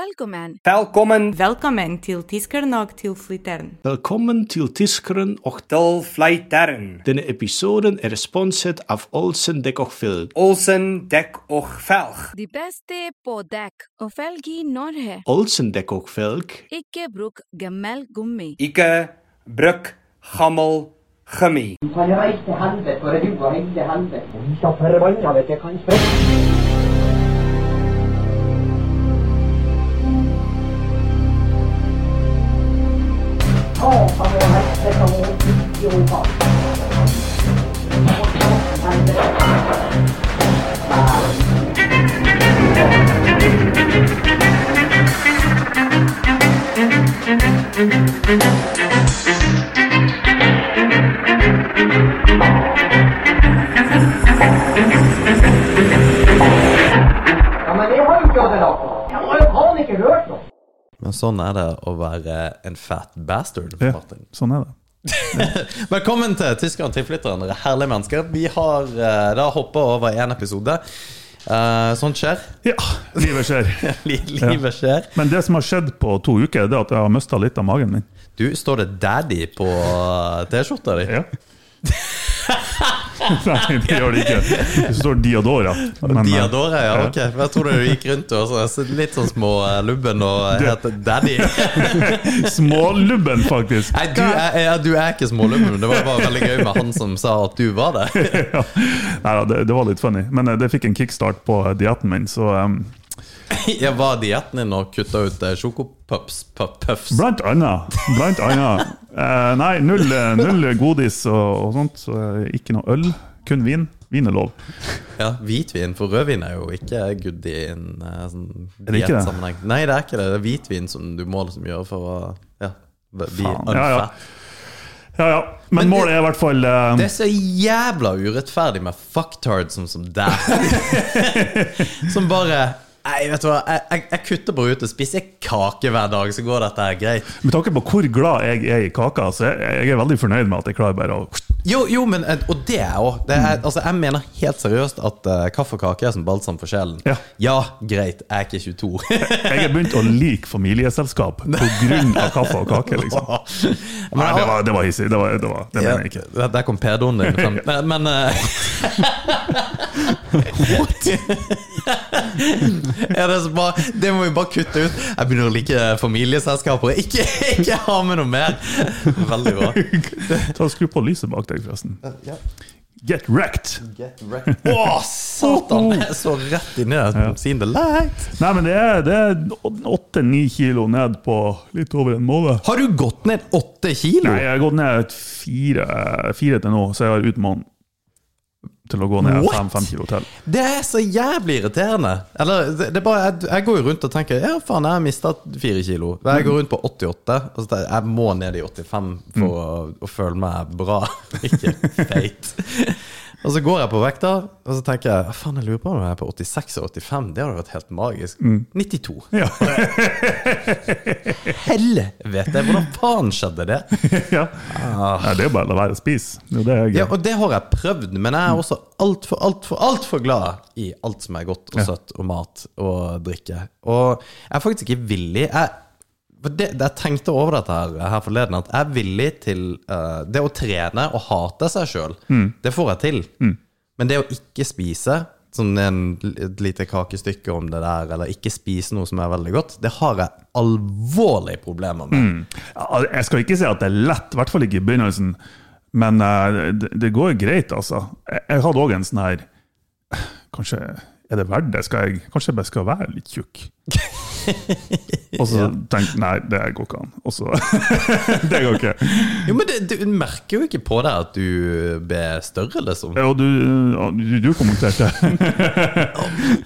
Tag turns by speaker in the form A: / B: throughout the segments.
A: Velkommen.
B: Velkommen
C: Velkommen til Tiskernok til Flittern.
D: Velkommen til Tiskeren och
B: til Flytern.
D: denna episoden är sponset av Olsen Däck och Felg.
B: Olsen dek och velg.
A: De beste på dekk og felg i Norge.
D: Olsen Däck och Felg
A: Ikke bruk gammel gummi.
B: Ike, bruk, gammel, gummi.
E: kan reise til helvete, for du har reist til helvete. Vi skal forbanna, vet du, kanskje. Ja, men jeg har jo ikke hatt det nok. Jeg har jo faen ikke hørt noe.
F: Men sånn er det å være en fat bastard,
G: Ja,
F: Martin.
G: sånn er det.
F: Velkommen til Tyskeren tilflytteren, dere herlige mennesker. Vi har eh, da hoppa over én episode. Eh, sånt skjer.
G: Ja, livet skjer.
F: Li- Livet skjer.
G: Men det som har skjedd på to uker, det er at jeg har mista litt av magen min.
F: Du, står det 'daddy' på eh, T-skjorta di?
G: Ja. Nei, det gjør det ikke. Det står Diodora. men, eh,
F: Diadora, ja. Ok. For Jeg trodde du gikk rundt og så litt sånn små eh, lubben og het 'daddy'.
G: Smålubben, faktisk.
F: Nei, du er, ja, du er ikke smålubben. men Det var bare veldig gøy med han som sa at du var det.
G: Ja. Nei da, det, det var litt funny. Men eh, det fikk en kickstart på eh, dietten min, så eh,
F: Jeg var dietten din og kutta ut eh, sjokopuffs. puff- puffs.
G: blant annet. Blant annet. Eh, nei, null, eh, null godis og, og sånt. Så eh, ikke noe øl, kun vin. Vin er lov.
F: Ja, Hvitvin, for rødvin er jo ikke good i en eh, sånn
G: Er det ikke det?
F: diettsammenheng. Nei, det er ikke det. Det er hvitvin som du må liksom gjøre for å ja, bli
G: Faen,
F: unfat.
G: ja, ja. Ja, ja. Men,
F: Men
G: målet er i hvert fall eh,
F: Det er så jævla urettferdig med fucktards som, som deg. som bare Nei, vet du hva, jeg, jeg, jeg kutter bare ut og spiser kake hver dag, så går dette her greit.
G: Med tanke på hvor glad jeg er i kaka, så jeg, jeg er veldig fornøyd med at jeg klarer bare å
F: Jo, jo, men eh, Og det er òg.
G: Mm.
F: Altså, jeg mener helt seriøst at eh, kaffe og kake er som balsam for sjelen.
G: Ja.
F: greit, jeg er ikke 22.
G: Jeg er begynt å like familieselskap pga. kaffe og kake, liksom.
F: Men
G: Nei,
F: jeg-
G: det var, det var hissig. Det, var, det, var, det
F: Ja,
G: mener jeg ikke.
F: Der, der kom pedoen din frem. Men, men eh, ja, det, er så bra. det må vi bare kutte ut. Jeg begynner å like familieselskaper. Ikke, ikke ha med noe mer! Veldig bra.
G: Ta og Skru på lyset bak deg, forresten. Get wrecked!
F: Å, satan! Jeg så rett inn i det. Seen the light.
G: Nei, men det er, det er åtte-ni kilo ned på litt over en måned.
F: Har du gått ned åtte kilo?
G: Nei, jeg har gått ned et fire, fire til nå, så jeg har ut måneden til å gå ned
F: What?
G: fem-fem kilo til.
F: Det er så jævlig irriterende. Eller, det, det er bare, jeg, jeg går jo rundt og tenker Ja, faen, jeg har mista fire kilo. Jeg går rundt på 88. Og så tenker, jeg, jeg må ned i 85 for å, å føle meg bra, ikke feit. og så går jeg på vekta, og så tenker jeg faen, jeg lurer på om jeg er på 86 og 85. Det hadde vært helt magisk. 92.
G: Ja.
F: Helvete, hvordan faen skjedde det?
G: ja. Nei, det er jo bare å la være å spise. Det er jo det jeg
F: Ah. Ja, og det har jeg prøvd, men jeg er også altfor, altfor, altfor glad i alt som er godt og søtt og mat og drikke. Og jeg er faktisk ikke villig Jeg, for det, jeg tenkte over dette her, her forleden, at jeg er villig til eh, Det å trene og hate seg sjøl, det får jeg til. Men det å ikke spise Sånn en, et lite kakestykke om det der, eller ikke spise noe som er veldig godt, det har jeg alvorlige problemer med.
G: Ja, Jeg skal ikke si at det er lett, i hvert fall ikke i begynnelsen. Men eh, det, det går greit, altså. Jeg, jeg hadde òg en sånn her Kanskje er det verdt det? Skal jeg, kanskje jeg bare skal være litt tjukk? Og så tenkte jeg nei, det går ikke an. Og så Det går ikke.
F: Jo, men det, Du merker jo ikke på deg at du ble større, liksom.
G: Og du, du, du kommenterte.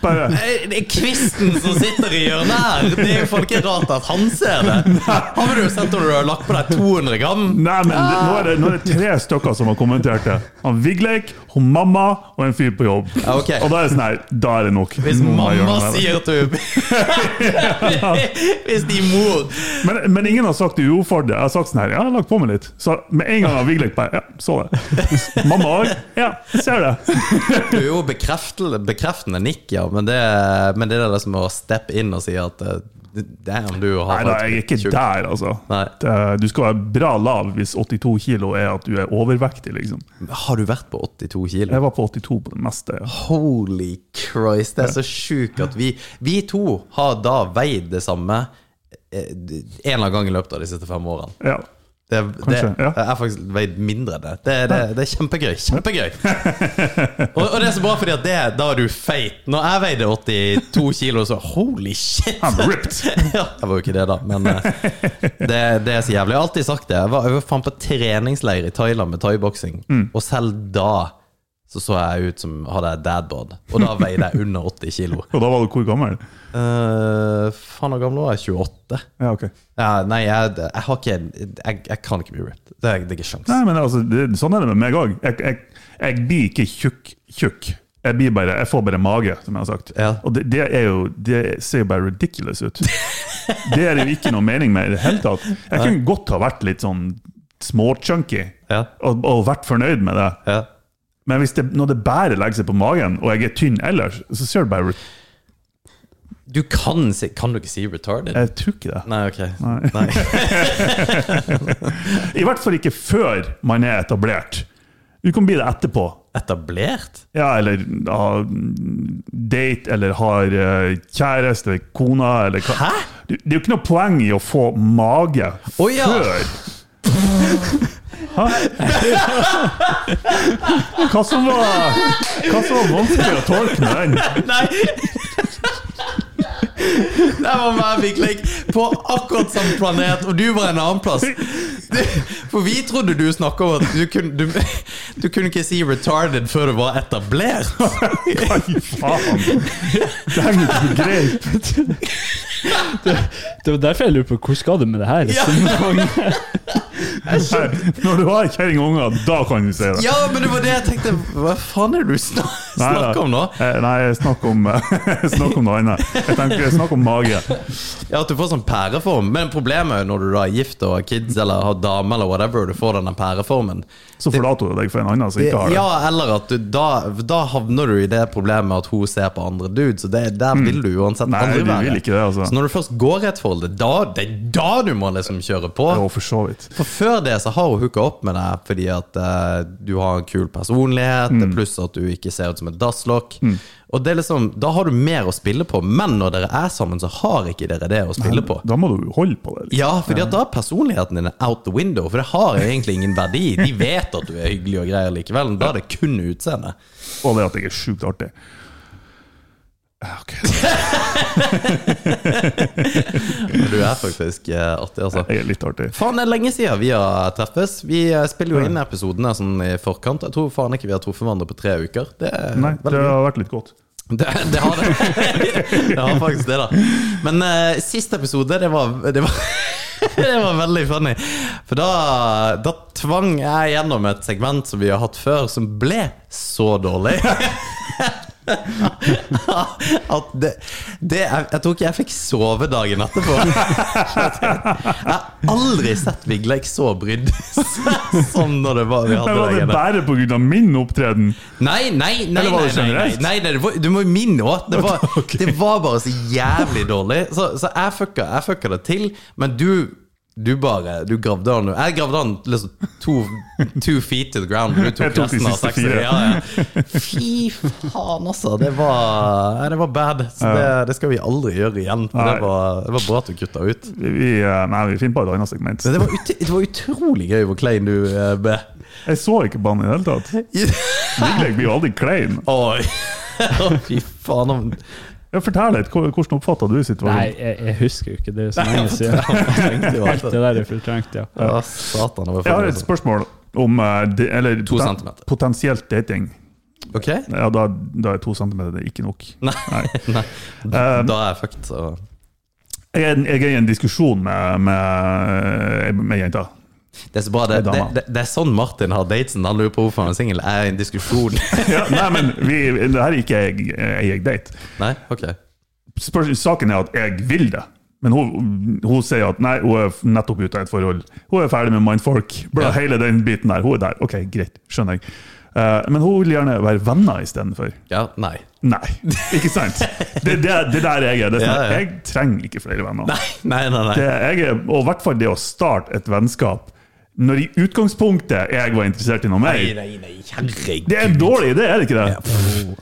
G: Bare
F: Eh, Det er kvisten som sitter i hjørnet her! Det er jo faen ikke rart at han ser det. Han ville jo sett om du har lagt på deg 200 gram.
G: Nei, men det, nå, er det, nå er det tre stykker som har kommentert det. Han Vigleik, hun mamma og en fyr på jobb.
F: Ja, ok.
G: Og da er det sånn her, da er det nok.
F: Hvis
G: Nå må jeg gjøre
F: mamma
G: noe med det.
F: sier at du Hvis din mor
G: Men, men ingen har sagt det uoppfordret. Jeg har sagt sånn her, ja, jeg har lagt på meg litt. Så med en gang har Vigleik bare, ja, så det. Mamma òg, ja, ser det.
F: Du er jo bekreftel- bekreftende nikk, ja, men det, men det er det som å steppe inn og si at eh, Damn, du har
G: Nei da, jeg er ikke
F: tjukk-
G: der, altså.
F: Nei.
G: Det- Du skal være bra lav hvis 82 kilo er at du er overvektig, liksom.
F: Har du vært på 82 kilo?
G: Jeg var på 82 på det meste. ja.
F: Holy Christ, det er så sjukt at vi Vi to har da veid det samme eh, en eller annen gang i løpet av de siste fem årene.
G: Ja.
F: Det, det,
G: Kanskje, ja.
F: Jeg er faktisk veid mindre enn det. Det, det. det er kjempegøy. Kjempegøy! Og, og det er så bra, fordi at det da er du feit. Når jeg veide 82 kilo, så holy shit!
G: I'm ripped!
F: ja, jeg var jo ikke det, da, men eh, det, det er så jævlig. Jeg har alltid sagt det. Jeg var, jeg var faen på treningsleir i Thailand med thaiboksing,
G: Mm.
F: og selv da så så jeg ut som hadde jeg dadboard, og da veide jeg under 80 kilo.
G: Og da var du hvor gammel?
F: Eh, faen, hvor gammel var jeg? 28?
G: Ja, ok.
F: Ja, nei, jeg, jeg har ikke jeg, jeg kan ikke bli ripped. Det er, det er ikke sjans.
G: Nei, men altså, det, sånn er det med meg òg. Jeg, jeg, jeg blir ikke tjukk tjukk. Jeg, blir bare, jeg får bare mage, som jeg har sagt.
F: Ja.
G: Og det, det, er jo, det ser jo bare ridiculous ut. det er det jo ikke noe mening med i det hele tatt. Jeg kunne godt ha vært litt sånn småchunky
F: Ja.
G: og, og vært fornøyd med det.
F: Ja.
G: Men hvis det, når det bare legger seg på magen, og jeg er tynn ellers, så ser det bare ut
F: Du kan si Kan du ikke si retarded?
G: Jeg tror ikke det.
F: Nei, ok. Nei.
G: I hvert fall ikke før man er etablert. Du kan bli det etterpå.
F: Etablert?
G: Ja, eller ha date, eller har eh, kjæreste, eller kona, eller hva.
F: Hæ?
G: Det, det er jo ikke noe poeng i å få mage
F: Å, ja.
G: før. Hæ? Hva som var Hva som var vanskelig å tolke med den?
F: Nei! Der var meg, Vikling, på akkurat samme planet, og du var en annen plass. Det- For vi trodde du snakka om at du kunne, du, du kunne ikke si retarded før du var etablert.
G: Hva i faen? Det henger ikke på greip.
H: Det var derfor jeg lurer på hvor skal du med det her?
F: Ja.
G: Nei, Når du har kjerring og unger, da kan du si det.
F: Ja, men det var det jeg tenkte. Hva faen er det du snak
G: Nei, nei.
F: snakker om nå?
G: Eh, Nei, jeg snakker om, jeg snakker om noe annet. Jeg tenker jeg snakker om mage.
F: Ja, at du får sånn pæreform. Men problemet er jo når du da er gift og har kids eller har dame eller whatever, og du får denne pæreformen.
G: Så forlater du deg for en annen som ikke har det.
F: Ja, eller at du da, da havner du i det problemet at hun ser på andre dudes, og det, der vil du uansett
G: Hmm. Nei,
F: aldri
G: du
F: være.
G: vil ikke det, altså.
F: Så når du først går i et forhold, det er da, det er da du må liksom kjøre på.
G: Jo, for så vidt.
F: For før det så har hun hooka opp med deg fordi at eh, du har en kul personlighet,
G: Hmm.
F: pluss at du ikke ser ut som et dasslokk. Og det er liksom, da har du mer å spille på, men når dere er sammen, så har ikke dere det å spille på.
G: Da må du jo holde på det. Liksom.
F: Ja, fordi at da er personligheten din out the window, for det har egentlig ingen verdi. De vet at du er hyggelig og greier likevel, men da er det kun utseendet.
G: Og det at jeg er sjukt artig. Ja, Ok,
F: Du er faktisk eh, artig, altså.
G: jeg er litt artig.
F: Faen, det er lenge siden vi har treffes. Vi eh, spiller jo inn episodene sånn i forkant. Jeg tror faen ikke vi har truffet hverandre på tre uker. Det er
G: Nei, det
F: veldig gøy.
G: har vært litt godt.
F: Det, det har det. Det har faktisk det, da. Men eh, siste episode, det var, det var Det var veldig funny. For da, da tvang jeg gjennom et segment som vi har hatt før, som ble så dårlig. At det, det jeg, jeg tror ikke jeg fikk sove dagen etterpå. Jeg har aldri sett Vigleik så brydd som når det var vi hadde det
G: Men var det
F: greiene.
G: bare pga. min opptreden?
F: Nei, nei, nei,
G: Eller var
F: nei,
G: det
F: nei, nei,
G: generelt?
F: nei, nei det var, du må jo minne òg. Det, var- det var bare så jævlig dårlig. Så, så jeg, fucka, jeg fucka det til, men du du bare, du gravde han Jeg gravde han liksom to, two feet to the ground. men Du
G: Jeg
F: tok,
G: tok de
F: resten av
G: siste
F: seksen.
G: fire.
F: Ja, ja. Fy faen, altså. Det var, nei, det var bad. Så det, det skal vi aldri gjøre igjen. For
G: Nei.
F: det var, det var bra at du kutta ut.
G: Vi, eh, nei, vi finner på et annet segment.
F: Men det var, ut, det var utrolig gøy hvor klein du eh, ble.
G: Jeg så ikke på han i det hele tatt. Vigleg blir jo aldri klein.
F: Oi. Fy faen. om-
G: Ja, Fortell litt, hvor- hvordan oppfatta du
H: Nei,
G: situasjonen?
H: jeg, jeg husker jo ikke det er så lenge siden.
F: tenkte jo alt
H: Alt det der er fortrengt, ja.
F: Ja, satan. Det var
G: Jeg har et
F: forferdelig.
G: spørsmål om eh, de, eller,
F: To
G: poten-
F: centimeter.
G: potensielt dating.
F: altså. Ok,
G: Ja, da, da er to centimeter det er ikke nok. Eh,
F: da er jeg fucked, så
G: Jeg er, jeg er i en diskusjon med, med, eh, med jenta.
F: Det er så bra. Det,
G: Det er
F: det,
G: dama.
F: det, det er sånn Martin har datesen. Han lurer på hvorfor han er singel. Er i en diskusjon?
G: Ja, nei, men vi, det her er ikke jeg, jeg date.
F: Nei? Ok.
G: Spørs, saken er at jeg vil det. Men hun, hun sier at nei, hun er nettopp ute av et forhold. Hun er ferdig med mannfolk. Bla,
F: Ja.
G: Hele den biten der. Hun er der. Ok, greit. Skjønner jeg. Eh, men hun vil gjerne være venner istedenfor.
F: Ja, nei.
G: Nei, ikke sant? Det, det, det der jeg er. Det er sånn,
F: Ja, ja.
G: Jeg trenger ikke flere venner.
F: Nei, nei, nei. nei.
G: Det, jeg er, og i hvert fall det å starte et vennskap når i utgangspunktet jeg var interessert i noe mer.
F: Nei, nei, nei, herregud.
G: Det er en dårlig idé, er det ikke det?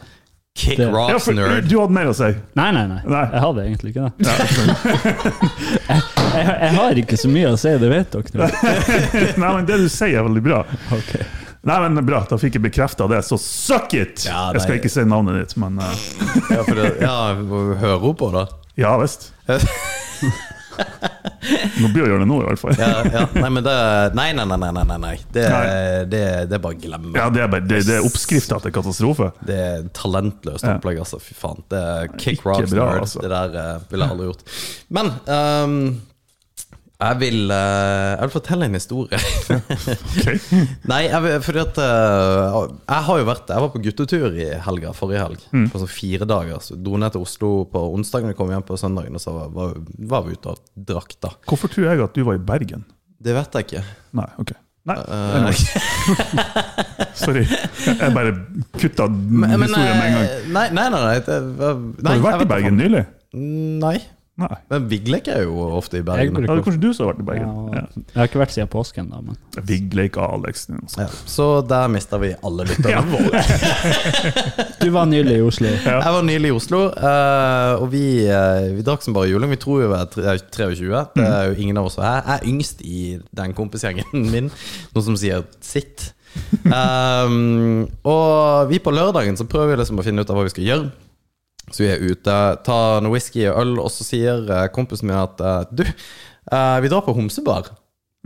F: Kick
H: Det-
G: Ja,
F: rocks,
G: for,
F: nerd.
G: du hadde mer å si.
H: Nei, nei, nei.
G: Nei.
H: Jeg hadde egentlig ikke det. jeg, jeg har ikke så mye å si, det vet dere.
G: Nei, men Det du sier, er veldig bra.
H: Okay.
G: Nei, men Bra, da fikk jeg bekrefta det, så suck it!
F: Ja, nei.
G: Jeg skal ikke si navnet ditt, men eh,
F: Ja, for det, ja, hører hun på, da?
G: ja visst. Nå blir å gjøre det nå, i hvert fall.
F: Ja, ja. Nei, men det Nei, nei, nei. nei, nei, nei, nei. Det,
G: Nei.
F: det, det er bare å glemme.
G: Ja, Det er, bare- det, det er oppskrifta til katastrofe.
F: Det er talentløst
G: Ja.
F: opplegg, altså. Fy faen. Det er kick rocks,
G: bra,
F: nerd.
G: altså.
F: Det der eh, ville jeg aldri gjort. Men ehm, jeg, vil, eh, jeg vil fortelle en historie.
G: Ok.
F: Nei, jeg, vil- fordi at eh, Jeg har jo vært Jeg var på guttetur i helga, forrige helg.
G: Mm.
F: På sånn fire dager. Så dro ned til Oslo på onsdagen og kom hjem på søndagen, og så var, var vi ute og drakk, da.
G: Hvorfor tror jeg at du var i Bergen?
F: Det vet jeg ikke. Eh,
G: Nei, ok. Nei, anyway. Sorry. Jeg bare kutta
F: Men- men,
G: historien med en gang.
F: eh, Nei, nei, nei. nei, det, var- nei
G: Har du
F: jeg
G: vært
F: vet
G: i Bergen
F: ikke.
G: nylig?
F: Nei.
G: Nei.
F: Men Vigleik er jo ofte i
H: Jeg,
F: Bergen.
G: Ja, det er
H: bruker,
G: kanskje du som har vært i Bergen.
H: ja,
G: Ja.
H: jeg har ikke vært siden påsken, da, men
G: Vigleik altså. Alex. noe sånt.
F: Ja, så der mista vi alle lytterne våre.
H: Du var nylig i Oslo.
F: Jeg var nylig i Oslo, eh, og vi, eh, vi drakk som bare juling. Vi tror jo vi er tre- 23. Det er jo ingen av oss som er Jeg er yngst i den kompisgjengen min, noe som sier sitt. Um, og vi på lørdagen så prøver vi liksom å finne ut av hva vi skal gjøre. Så vi er ute, tar noe whisky og øl, og så sier eh, kompisen min at eh, du, eh, vi drar på homsebar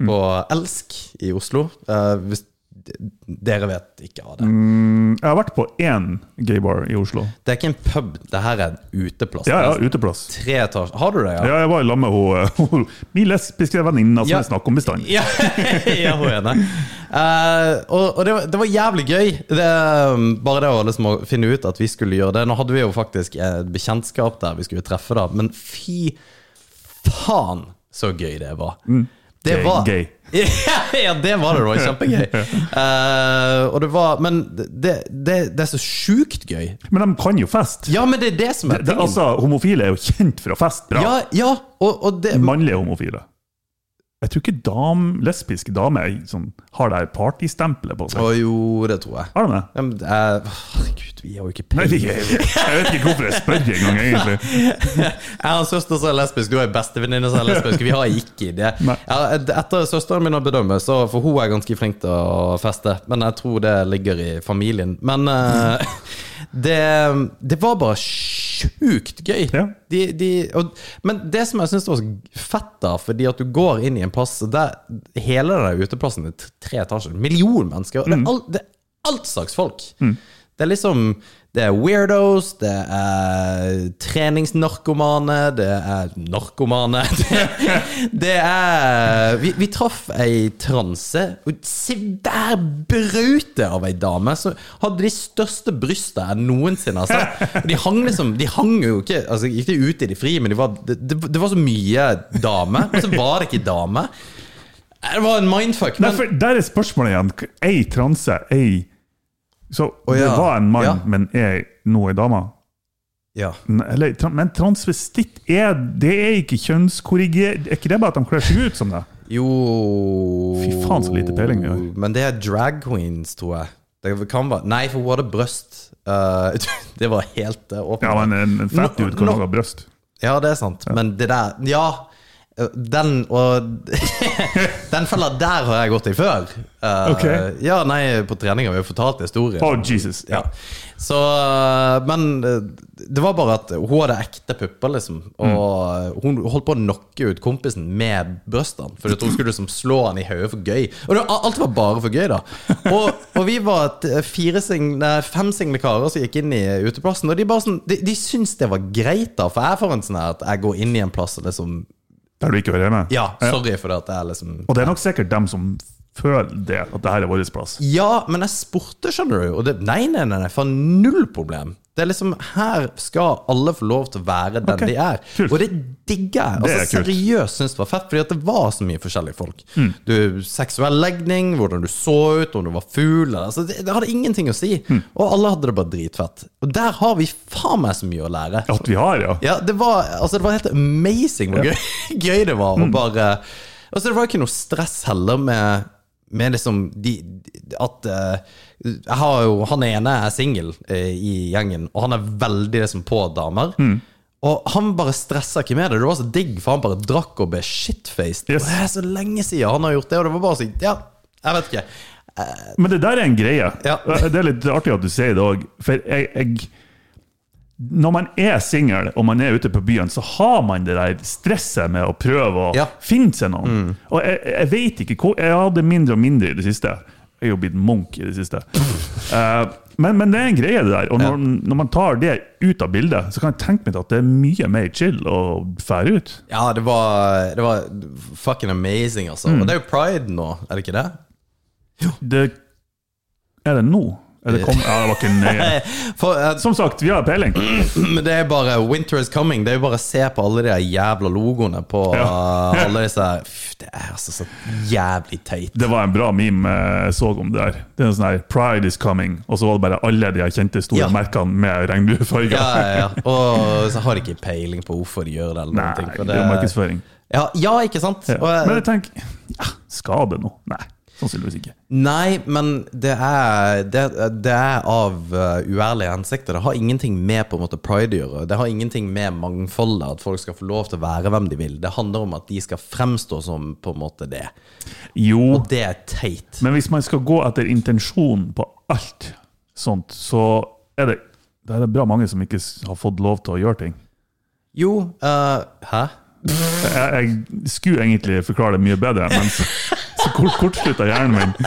F: på Elsk i Oslo. Eh, hvis d- dere vet ikke av det.
G: Mm, Jeg har vært på én gaybar i Oslo.
F: Det er ikke en pub, det her er en uteplass.
G: Ja, ja, uteplass.
F: Tre etasjer. Har du det, ja?
G: Ja, jeg var i lag med hun- eh, hun- min lesbiske venninne som
F: Ja.
G: jeg snakker om bestandig.
F: Ja, ja hun er det. Eh, og og det, var, det var jævlig gøy. Det, um, bare det å liksom å finne ut at vi skulle gjøre det. Nå hadde vi jo faktisk et bekjentskap der vi skulle treffe, da. Men fy faen så gøy det var.
G: Mm.
F: Det
G: Gøy,
F: var
G: gøy.
F: ja, det var det. Det var kjempegøy. Eh, og det var Men det, det, det er så sjukt gøy.
G: Men de kan jo fest.
F: Ja, men det er det som er
G: Det,
F: tingen.
G: altså, homofile er jo kjent for å feste bra.
F: Ja, ja, og, og det
G: Mannlige homofile. Jeg tror ikke dam, lesbiske damer er sånn, har det her partystempelet på seg.
F: Å jo, det tror jeg.
G: Har de det?
F: Ja, men, eh, herregud, vi har jo ikke
G: Nei,
F: peiling.
G: det- jeg, jeg vet ikke hvorfor jeg spør engang, egentlig.
F: Jeg har en søster som er lesbisk, du har en bestevenninne som er lesbisk. Vi har ikke det.
G: Nei.
F: Ja, etter søsteren min å bedømme, så, for hun er ganske flink til å feste. Men jeg tror det ligger i familien. Men eh, det, det var bare sjukt gøy.
G: Ja.
F: De, de, og, men det som jeg syns var så fett, da, fordi at du går inn i en plass der hele den der uteplassen er t- tre etasjer. En million mennesker. Og det, er alt, det er alt slags folk. Det er liksom Det er weirdos, det er treningsnarkomane, det er narkomane Det, det er Vi, vi traff ei transe, og se der braute av ei dame som hadde de største brystene jeg noensinne har sett. Og De hang liksom De hang jo ikke Altså Gikk de ute i det frie, men de var, det, det, det var så mye dame, og så var det ikke dame. Det var en mindfuck.
G: Nei,
F: men-
G: for Der er spørsmålet igjen. Ei transe, ei Så
F: Å,
G: det
F: ja.
G: var en mann,
F: Ja.
G: men er nå ei dame?
F: ja.
G: N- Eller, tran- men transvestitt er Det er ikke kjønnskorrigert Er ikke det bare at de kler seg ut som det?
F: Jo
G: Fy faen, så lite peiling vi har.
F: Men det er drag queens, tror jeg. Det kan være Nei, for hun hadde brøst. Eh, det var helt eh, åpent.
G: Ja, men en, en fett
F: Nå-
G: dude kan
F: nå-
G: også ha bryst.
F: Ja, det er sant. Men det der Ja. eh, Den og Den fella der har jeg gått i før. Eh,
G: Ok.
F: Ja, nei, på trening har vi jo fortalt historien.
G: Oh, Jesus.
F: Ja. Så, men eh, det var bare at hun hadde ekte pupper, liksom. Og hun holdt på å knocke ut kompisen med brystene. For hun skulle liksom slå han i hodet for gøy. Og det, alt var bare for gøy, da. Og, og vi var et eh, fire sing- nei, fem single karer som gikk inn i uteplassen. Og de, bare sånn, de, de syntes det var greit, da. For jeg får en sånn her at jeg går inn i en plass og liksom
G: Der du ikke hører hjemme?
F: Ja, sorry for det at jeg liksom
G: Og det er nok sikkert dem som føler det, at det her er vår plass.
F: Ja, men jeg spurte, skjønner du. Og det, nei, nei, nei, nei, for null problem. Det er liksom, Her skal alle få lov til å være den de er.
G: kult.
F: Og det digger jeg.
G: Det er
F: Altså,
G: kult. Mm.
F: seriøst syns det var fett, fordi at det var så mye forskjellige folk. Du, seksuell legning, hvordan du så ut, om du var fugl eller- altså, det, det hadde ingenting å si.
G: Mm.
F: Og alle hadde det bare dritfett. Og der har vi faen meg så mye å lære.
G: At vi har, ja.
F: Ja, det var, altså, det var helt amazing hvor gøy, gøy det var. Og bare, altså, det var ikke noe stress heller med, med liksom de, at eh, jeg har jo, Han ene er singel eh, i gjengen, og han er veldig liksom, på damer. Og han bare stressa ikke med det. Det var så digg, for han bare drakk og ble shitfaced.
G: Yes.
F: Og Det er så lenge siden han har gjort det, og det var bare sånn Ja, jeg vet ikke.
G: Men det der er en greie.
F: Ja.
G: Det er litt artig at du sier det òg. For jeg, jeg Når man er singel og man er ute på byen, så har man det der stresset med å prøve å
F: Ja. Mm.
G: finne seg noen. Og jeg, jeg vet ikke hvor Jeg har det mindre og mindre i det siste. Jeg er jo blitt munk i det siste. Eh, men, men det er en greie, det der. Og når, når man tar det ut av bildet, så kan jeg tenke meg at det er mye mer chill å fære ut.
F: Ja, det var, det var fucking amazing, altså. Og det er jo pride nå, er det ikke det?
G: Det Er det nå? Er det kom, ja, det var ikke nøye.
F: For, eh,
G: Som sagt, vi har peiling.
F: Men det er bare Winter is coming. Det er jo bare å se på alle de jævla logoene på
G: Ja.
F: uh, alle disse Fy, Det er altså så jævlig teit.
G: Det var en bra meme eh, jeg så om det der. Det er en sånn her 'Pride is coming', og så var det bare alle de her kjente store
F: Ja.
G: merkene med regnbuefarger.
F: Ja, ja, ja. Og så har de ikke peiling på hvorfor de gjør det. eller
G: Nei,
F: noen ting. for
G: det er jo markedsføring.
F: ja, ja, ikke sant?
G: Ja.
F: Og, eh,
G: Men jeg tenker ja, Skal det nå? Nei, sannsynligvis ikke.
F: nei, men det er, det, det er av eh, uærlige hensikter. Det har ingenting med på en måte pride å gjøre. Det har ingenting med mangfoldet, at folk skal få lov til å være hvem de vil. Det handler om at de skal fremstå som på en måte det.
G: Jo,
F: Og det er teit.
G: men hvis man skal gå etter intensjonen på alt sånt, så er det, det er det bra mange som ikke s- har fått lov til å gjøre ting.
F: Jo, eh, hæ?
G: Jeg, jeg skulle egentlig forklare det mye bedre, men så, så kort, kortslutta hjernen min.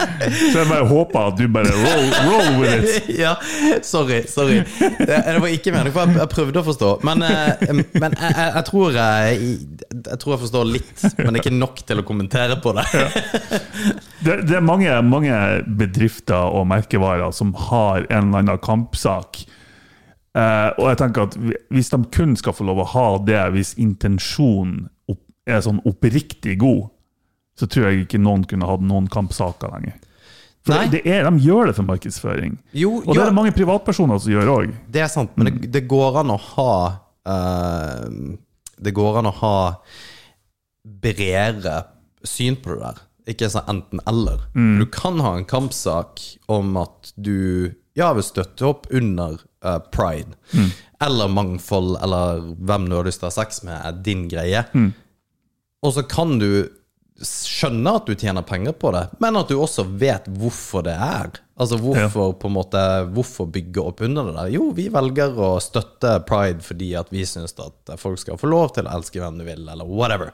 G: Så jeg bare håper at du bare roll, roll with it.
F: ja, sorry. sorry Det, det var ikke meningen, for jeg, jeg prøvde å forstå. Men, eh, men jeg, jeg, jeg, tror jeg, jeg tror jeg forstår litt, men ikke nok til å kommentere på det.
G: Det, det er mange, mange bedrifter og merkevarer som har en eller annen kampsak. Eh, og jeg tenker at hvi- Hvis de kun skal få lov å ha det hvis intensjonen opp, er sånn oppriktig god, så tror jeg ikke noen kunne hatt noen kampsaker lenger. For
F: Nei.
G: det er, De gjør det for markedsføring.
F: Jo,
G: og det
F: jo.
G: er det mange privatpersoner som gjør òg.
F: Det er sant, men det, det går an å ha eh, Det går an å ha bredere syn på det der. Ikke sånn enten-eller. Du kan ha en kampsak om at du ja, vil støtte opp under eh, pride, eller mangfold, eller hvem du har lyst til å ha sex med, er din greie. Og så kan du skjønne at du tjener penger på det, men at du også vet hvorfor det er. Altså hvorfor, på en måte, hvorfor bygge opp under det der? Jo, vi velger å støtte pride fordi at vi syns at folk skal få lov til å elske hvem du vil, eller whatever.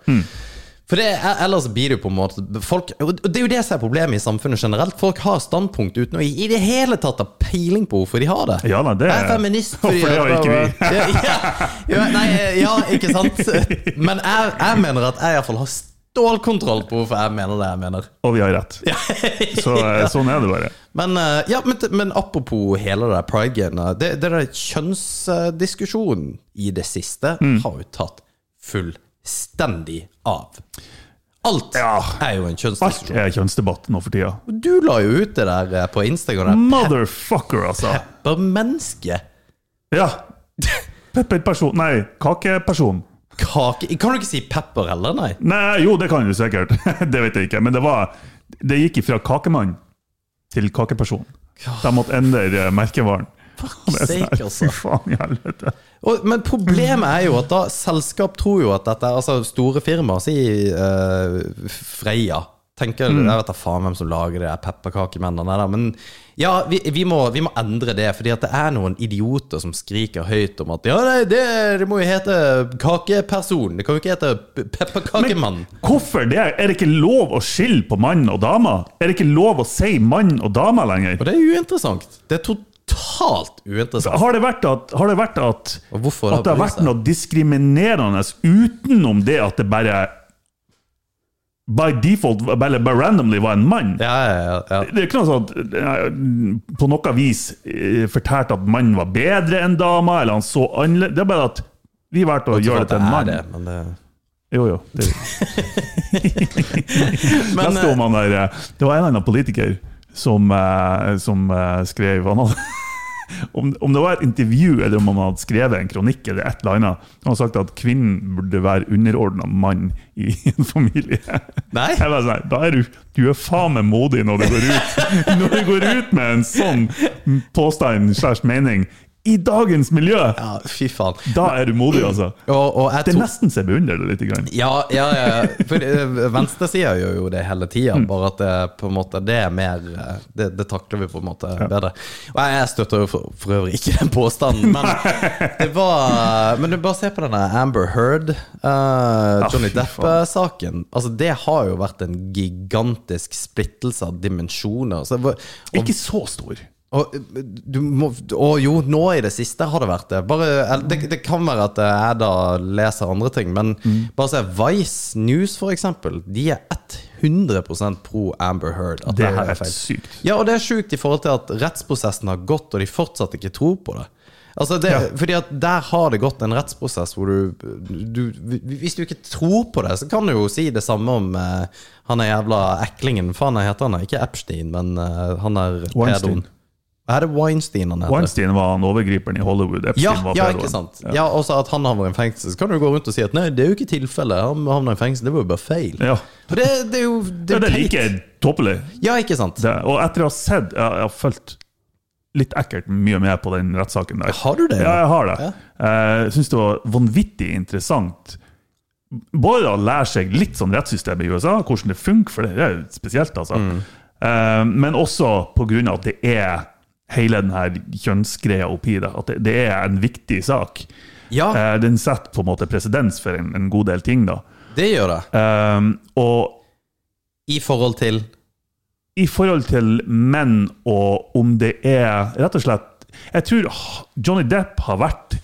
F: For det, er- Ellers blir det jo på en måte folk, Og det er jo det som er problemet i samfunnet generelt. Folk har standpunkt uten å i i det hele tatt ha peiling på hvorfor de har det.
G: Ja, nei, det-
F: jeg er feminist
G: For det har ikke vi.
F: ja, ja, ja, nei, ja, ikke sant? Men jeg, jeg mener at jeg iallfall har stålkontroll på hvorfor jeg mener det jeg mener.
G: Og vi har rett. Så, eh, Sånn er det bare.
F: Men, eh, ja, men, men apropos hele det der pride-genet. Det, det der kjønnsdiskusjonen i det siste
G: Mm.
F: har jo tatt fullstendig av. Alt
G: Ja.
F: er jo en
G: Alt
F: kjønnsdiskusjon.
G: er kjønnsdebatt nå for tida.
F: Du la jo ut det der eh, på
G: Mm.
F: Instagram.
G: Motherfucker, altså!
F: Bare menneske.
G: Ja. Pepperperson Nei, kakeperson.
F: Kake Kan du ikke si pepper heller, nei?
G: Nei, jo, det kan du sikkert. Det vet jeg ikke. Men det, var, det gikk fra kakemann til kakeperson. De måtte endre eh, merkevaren. Det er sånn
F: sake, altså.
G: her, Fy faen i helvete.
F: Og, men problemet er jo at da, selskap tror jo at dette Altså store firmaer, si eh, Freia Tenker,
G: Mm.
F: Jeg vet da faen hvem som lager de der pepperkakemennene der, men ja, vi, vi, må, vi må endre det. Fordi at det er noen idioter som skriker høyt om at ja, nei, det, det må jo hete kakeperson. Det kan jo ikke hete pe- pepperkakemann.
G: Men hvorfor det? Er det ikke lov å skille på mann og dame? Er det ikke lov å si mann og dame lenger?
F: Og det er uinteressant. Det er totalt uinteressant.
G: Har det vært at, har det, vært at,
F: Og hvorfor
G: at det har
F: bryr
G: vært
F: seg?
G: noe diskriminerende utenom det at det bare by default, eller by randomly, var en mann.
F: Ja, ja, ja. ja.
G: Det er jo ikke noe sånn at eh, på noe vis eh, fortalte at mannen var bedre enn dama, eller han så annerledes Det er bare at vi valgte å gjøre det til en
F: Sånn er
G: mann.
F: det, men det-
G: Jo, jo. Det,
F: Men,
G: Neste om han der, eh, det var en eller annen politiker som, eh, som eh, skrev han hadde, om, om det var et intervju eller om han hadde skrevet en kronikk eller et eller annet. Han hadde sagt at kvinnen burde være underordna mann i en familie.
F: Nei.
G: Jeg bare sånn, da er du, du er faen meg modig når du går ut, når du går ut med en sånn påstand slash mening i dagens miljø!
F: Ja, fy faen.
G: Da er du modig, altså.
F: Og, og jeg
G: Det er
F: tror-
G: nesten så jeg beundrer det litt. Grann.
F: Ja, ja, ja. For eh, venstresida gjør jo det hele tida,
G: Mm.
F: bare at det, på en måte, det er mer eh, det, det takler vi på en måte bedre. Og jeg jeg støtter jo for, for øvrig ikke den påstanden, men det var eh, Men du bare se på denne Amber Heard, eh, Johnny
G: Ah, fy
F: Depp-saken. Altså, det har jo vært en gigantisk splittelse av dimensjoner. Så, det var- og,
G: Ikke så stor.
F: og, du må, og jo, nå i det siste har det vært det. Bare, eller det, det kan være at jeg da leser andre ting, men
G: Mm.
F: bare se Vice News, for eksempel. De er 100 pro Amber Heard. At
G: Det
F: det, her
G: er
F: er feil.
G: sykt.
F: Ja, og det er sjukt i forhold til at rettsprosessen har gått, og de fortsatt ikke tror på det. Altså det, Fordi at der har det gått en rettsprosess hvor du, du Hvis du ikke tror på det, så kan du jo si det samme om eh, han er jævla eklingen. Faen, hva heter han? Ikke Epstein, men eh, han er
G: Weinstein.
F: pedoen. Er det Weinstein han heter?
G: Weinstein var han overgriperen i Hollywood. Epstein
F: Ja,
G: var
F: ja,
G: pedoen.
F: ikke sant. Ja, også at han havner i fengsel. Så kan du gå rundt og si at nei, det er jo ikke tilfellet. Han havner i fengsel, det var jo bare feil.
G: Ja.
F: For det, det er jo
G: Ja, det
F: teit.
G: liker jeg tåpelig.
F: Ja, ikke sant.
G: Det- Og etter å ha sett Jeg, jeg har fulgt litt ekkelt mye med på den rettssaken der.
F: Har du det?
G: Ja, jeg har det. Eh, Jeg syns det var vanvittig interessant. Både å lære seg litt sånn rettssystemet i USA, hvordan det funker, for det er jo spesielt, altså.
F: Mm.
G: Eh, Men også på grunn av at det er hele den her kjønnsgreia oppi det. At det, det er en viktig sak.
F: Ja,
G: Eh, Den setter på en måte presedens for en, en god del ting, da.
F: det gjør det.
G: Um, og
F: I forhold til
G: i forhold til menn og om det er Rett og slett Jeg tror h- Johnny Depp har vært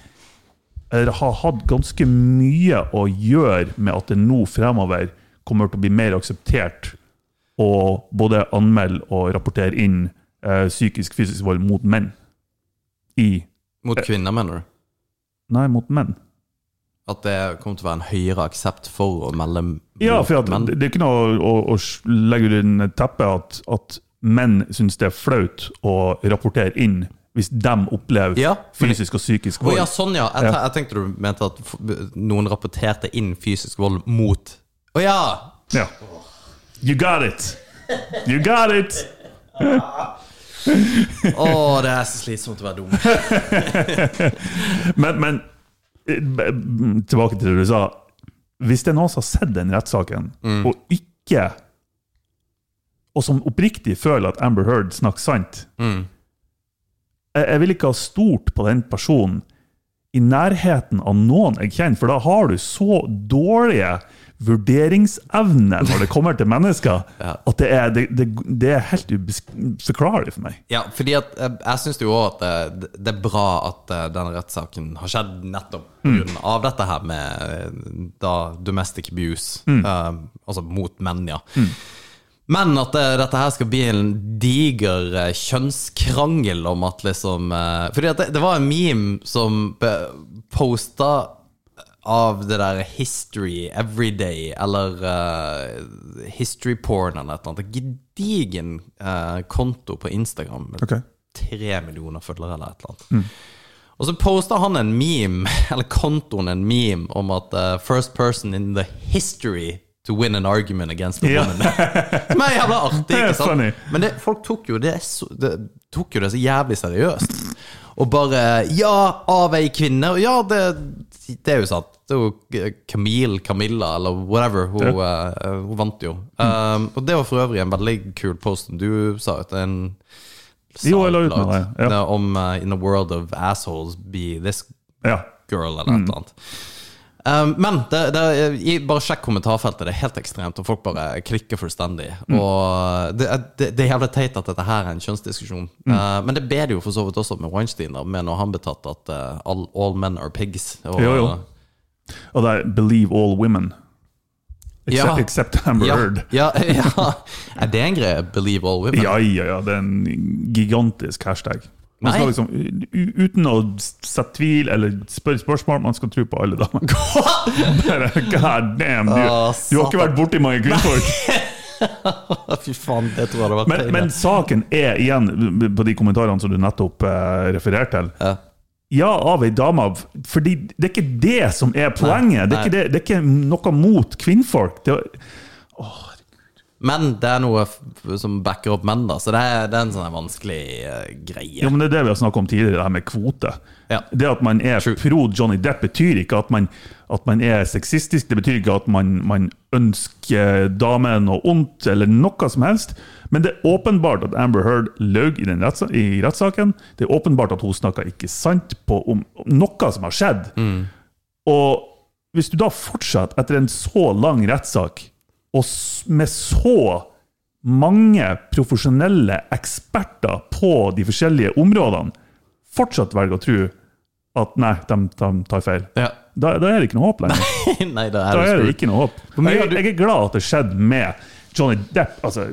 G: Eller har hatt ganske mye å gjøre med at det nå fremover kommer til å bli mer akseptert å både anmelde og rapportere inn eh, psykisk fysisk vold mot menn. I
F: Mot kvinner, mener du?
G: Nei, mot menn.
F: At det kommer til å være en høyere aksept for å melde m-
G: Ja, for at,
F: menn?
G: det det er ikke noe å, å, å s- legge under teppet at, at menn syns det er flaut å rapportere inn hvis de opplever
F: Ja, men-
G: fysisk og psykisk
F: Å
G: vold.
F: ja, sånn ja. Jeg, te-
G: Ja.
F: jeg tenkte du mente at f- noen rapporterte inn fysisk vold mot Å ja!
G: Ja. You got it! You got it!
F: Å, det er så slitsomt å være dum.
G: Men, men eh, b- b- tilbake til det du sa. Hvis det er noen som har sett den rettssaken, og ikke Og som oppriktig føler at Amber Heard snakker sant jeg, jeg vil ikke ha stort på den personen i nærheten av noen jeg kjenner, for da har du så dårlige vurderingsevner når det kommer til mennesker, at det er, det, det, det er helt uforklarlig for meg.
F: Ja, fordi at eh, jeg syns jo òg at det, det er bra at eh, denne rettssaken har skjedd nettopp pga. av dette her med eh, da domestic abuse, eh, altså mot menn, ja. Men at eh, dette her skal bli en diger eh, kjønnskrangel om at liksom eh, Fordi at det, det var en meme som be- posta av det der history everyday, eller eh, history porn eller et eller annet. Gedigen eh, konto på Instagram med
G: Ok.
F: tre millioner følgere eller et eller annet. Og så posta han en meme, eller kontoen en meme, om at eh, first person in the history to win an argument against a
G: Ja.
F: woman. Som er jævla artig,
G: Det er
F: ikke sant?
G: funny.
F: Men det, folk tok jo det, så, det tok jo det så jævlig seriøst. Og bare Ja, av ei kvinne. Og ja, det, det er jo sant. Det er jo Camille, Camilla eller whatever. Hun, eh, hun vant jo. Um, og det var for øvrig en veldig kul post som du sa ut. En
G: Jo, jeg la ut noe, ja.
F: Det om eh, In a world of assholes be this
G: Ja.
F: girl, eller
G: Mm.
F: et eller annet. Um, men det, det, er- i, bare sjekk kommentarfeltet. Det er helt ekstremt, og folk bare klikker fullstendig.
G: Mm.
F: Og det, er- det, det er jævlig teit at dette her er en kjønnsdiskusjon.
G: Mm.
F: Uh, men det ber det jo for så vidt også med Weinstein, da, med når han ble tatt at uh, all, all men are pigs. Og, uh,
G: Jo, jo. Og det er 'believe all women'. Except,
F: Ja.
G: it's September
F: Ja,
G: 3rd.
F: ja, ja. Er det en greie? Believe all women?
G: Ja, ja, ja. Det er en gigantisk hashtag. Man skal
F: Nei.
G: liksom, u- u- uten å sette tvil eller spørre spørsmål, man skal tro på alle damer. Bare, God damn, du,
F: Å,
G: du har ikke vært borti mange kvinnfolk!
F: Fy faen, det tror jeg hadde vært
G: Men,
F: tegnet.
G: men saken er igjen, på de kommentarene som du nettopp eh, refererte til
F: Ja. Uh,
G: Ja, av ei dame. Fordi det er ikke det som er poenget. Det, er ikke det, det er ikke noe mot kvinnfolk. Det,
F: Men det er noe f- som backer opp menn, da, så det er, det er en sånn her vanskelig eh, greie.
G: ja, men det er det vi har snakket om tidligere, det her med kvote.
F: Ja.
G: Det at man er pro Johnny Depp, betyr ikke at man, at man er sexistisk. Det betyr ikke at man, man ønsker damen noe ondt, eller noe som helst. Men det er åpenbart at Amber Heard løy i, den retts i rettssaken. Det er åpenbart at hun snakka ikke sant på om, om noe som har skjedd. Og hvis du da fortsetter etter en så lang rettssak, og s- med så mange profesjonelle eksperter på de forskjellige områdene, fortsatt velger å tro at nei, de, de tar feil.
F: Ja.
G: Da, da er det ikke noe håp lenger.
F: Nei, det er,
G: Da er det
F: det
G: ikke noe håp.
F: mye
G: Jeg,
F: har du-
G: jeg er glad at det skjedde med Johnny Depp, altså,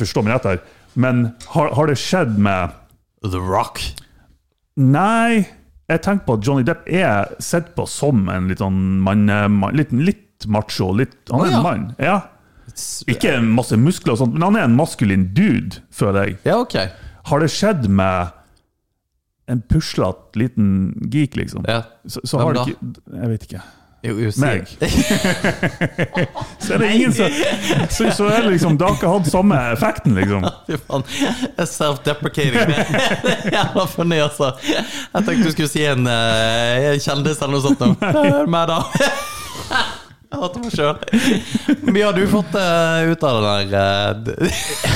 G: forstå meg rett her, men har, har det skjedd med
F: The Rock.
G: Nei, jeg tenker på at Johnny Depp er sett på som en litt sånn mann, mann litt, litt macho. Litt, han er
F: Å, ja.
G: en mann. Ja. Ikke masse muskler og sånt, men han er en maskulin dude, føler jeg.
F: Ja, ok.
G: Har det skjedd med en puslete liten geek, liksom?
F: Ja.
G: Så, så
F: Hvem
G: har det
F: da?
G: ikke Jeg vet ikke.
F: Jo, jo, si
G: Meg.
F: det.
G: Så er det ingen som Så, så er det liksom, det har ikke hatt samme effekten, liksom.
F: Fy faen. Jeg er Self-deprecating. Det er jævla funny, altså. Jeg tenkte du skulle si en eh, kjendis eller noe sånt. nå. Hør meg, da. Jeg hater meg sjøl. Hvor mye har du fått eh, ut av det der? eh,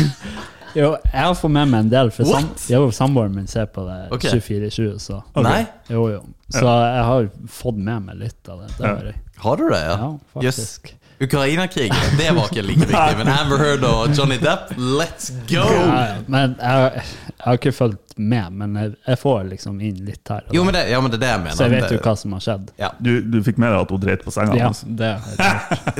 F: d-
H: Jo, jeg har fått med meg en del, for sam
F: What?
H: jeg og samboeren min ser på det
F: Ok.
H: 24-7, så
F: Nei?
H: jo, jo. Så jeg har fått med meg litt av det. Det
G: Ja.
H: har jeg.
F: Har du det, ja?
H: Ja,
F: Jøss.
H: faktisk.
F: Ukraina-krig, det var ikke like viktig. Men Amber Heard og Johnny Depp, let's go!
H: Ja, ja. men jeg, jeg har ikke fulgt med, men jeg, jeg får liksom inn litt her. og
F: Jo,
H: der.
F: men det, ja, men det er det jeg mener.
H: så jeg vet jo
F: Det-
H: hva som har skjedd.
G: Du, du fikk med deg at hun dreit på senga?
H: Ja,
G: altså.
H: det,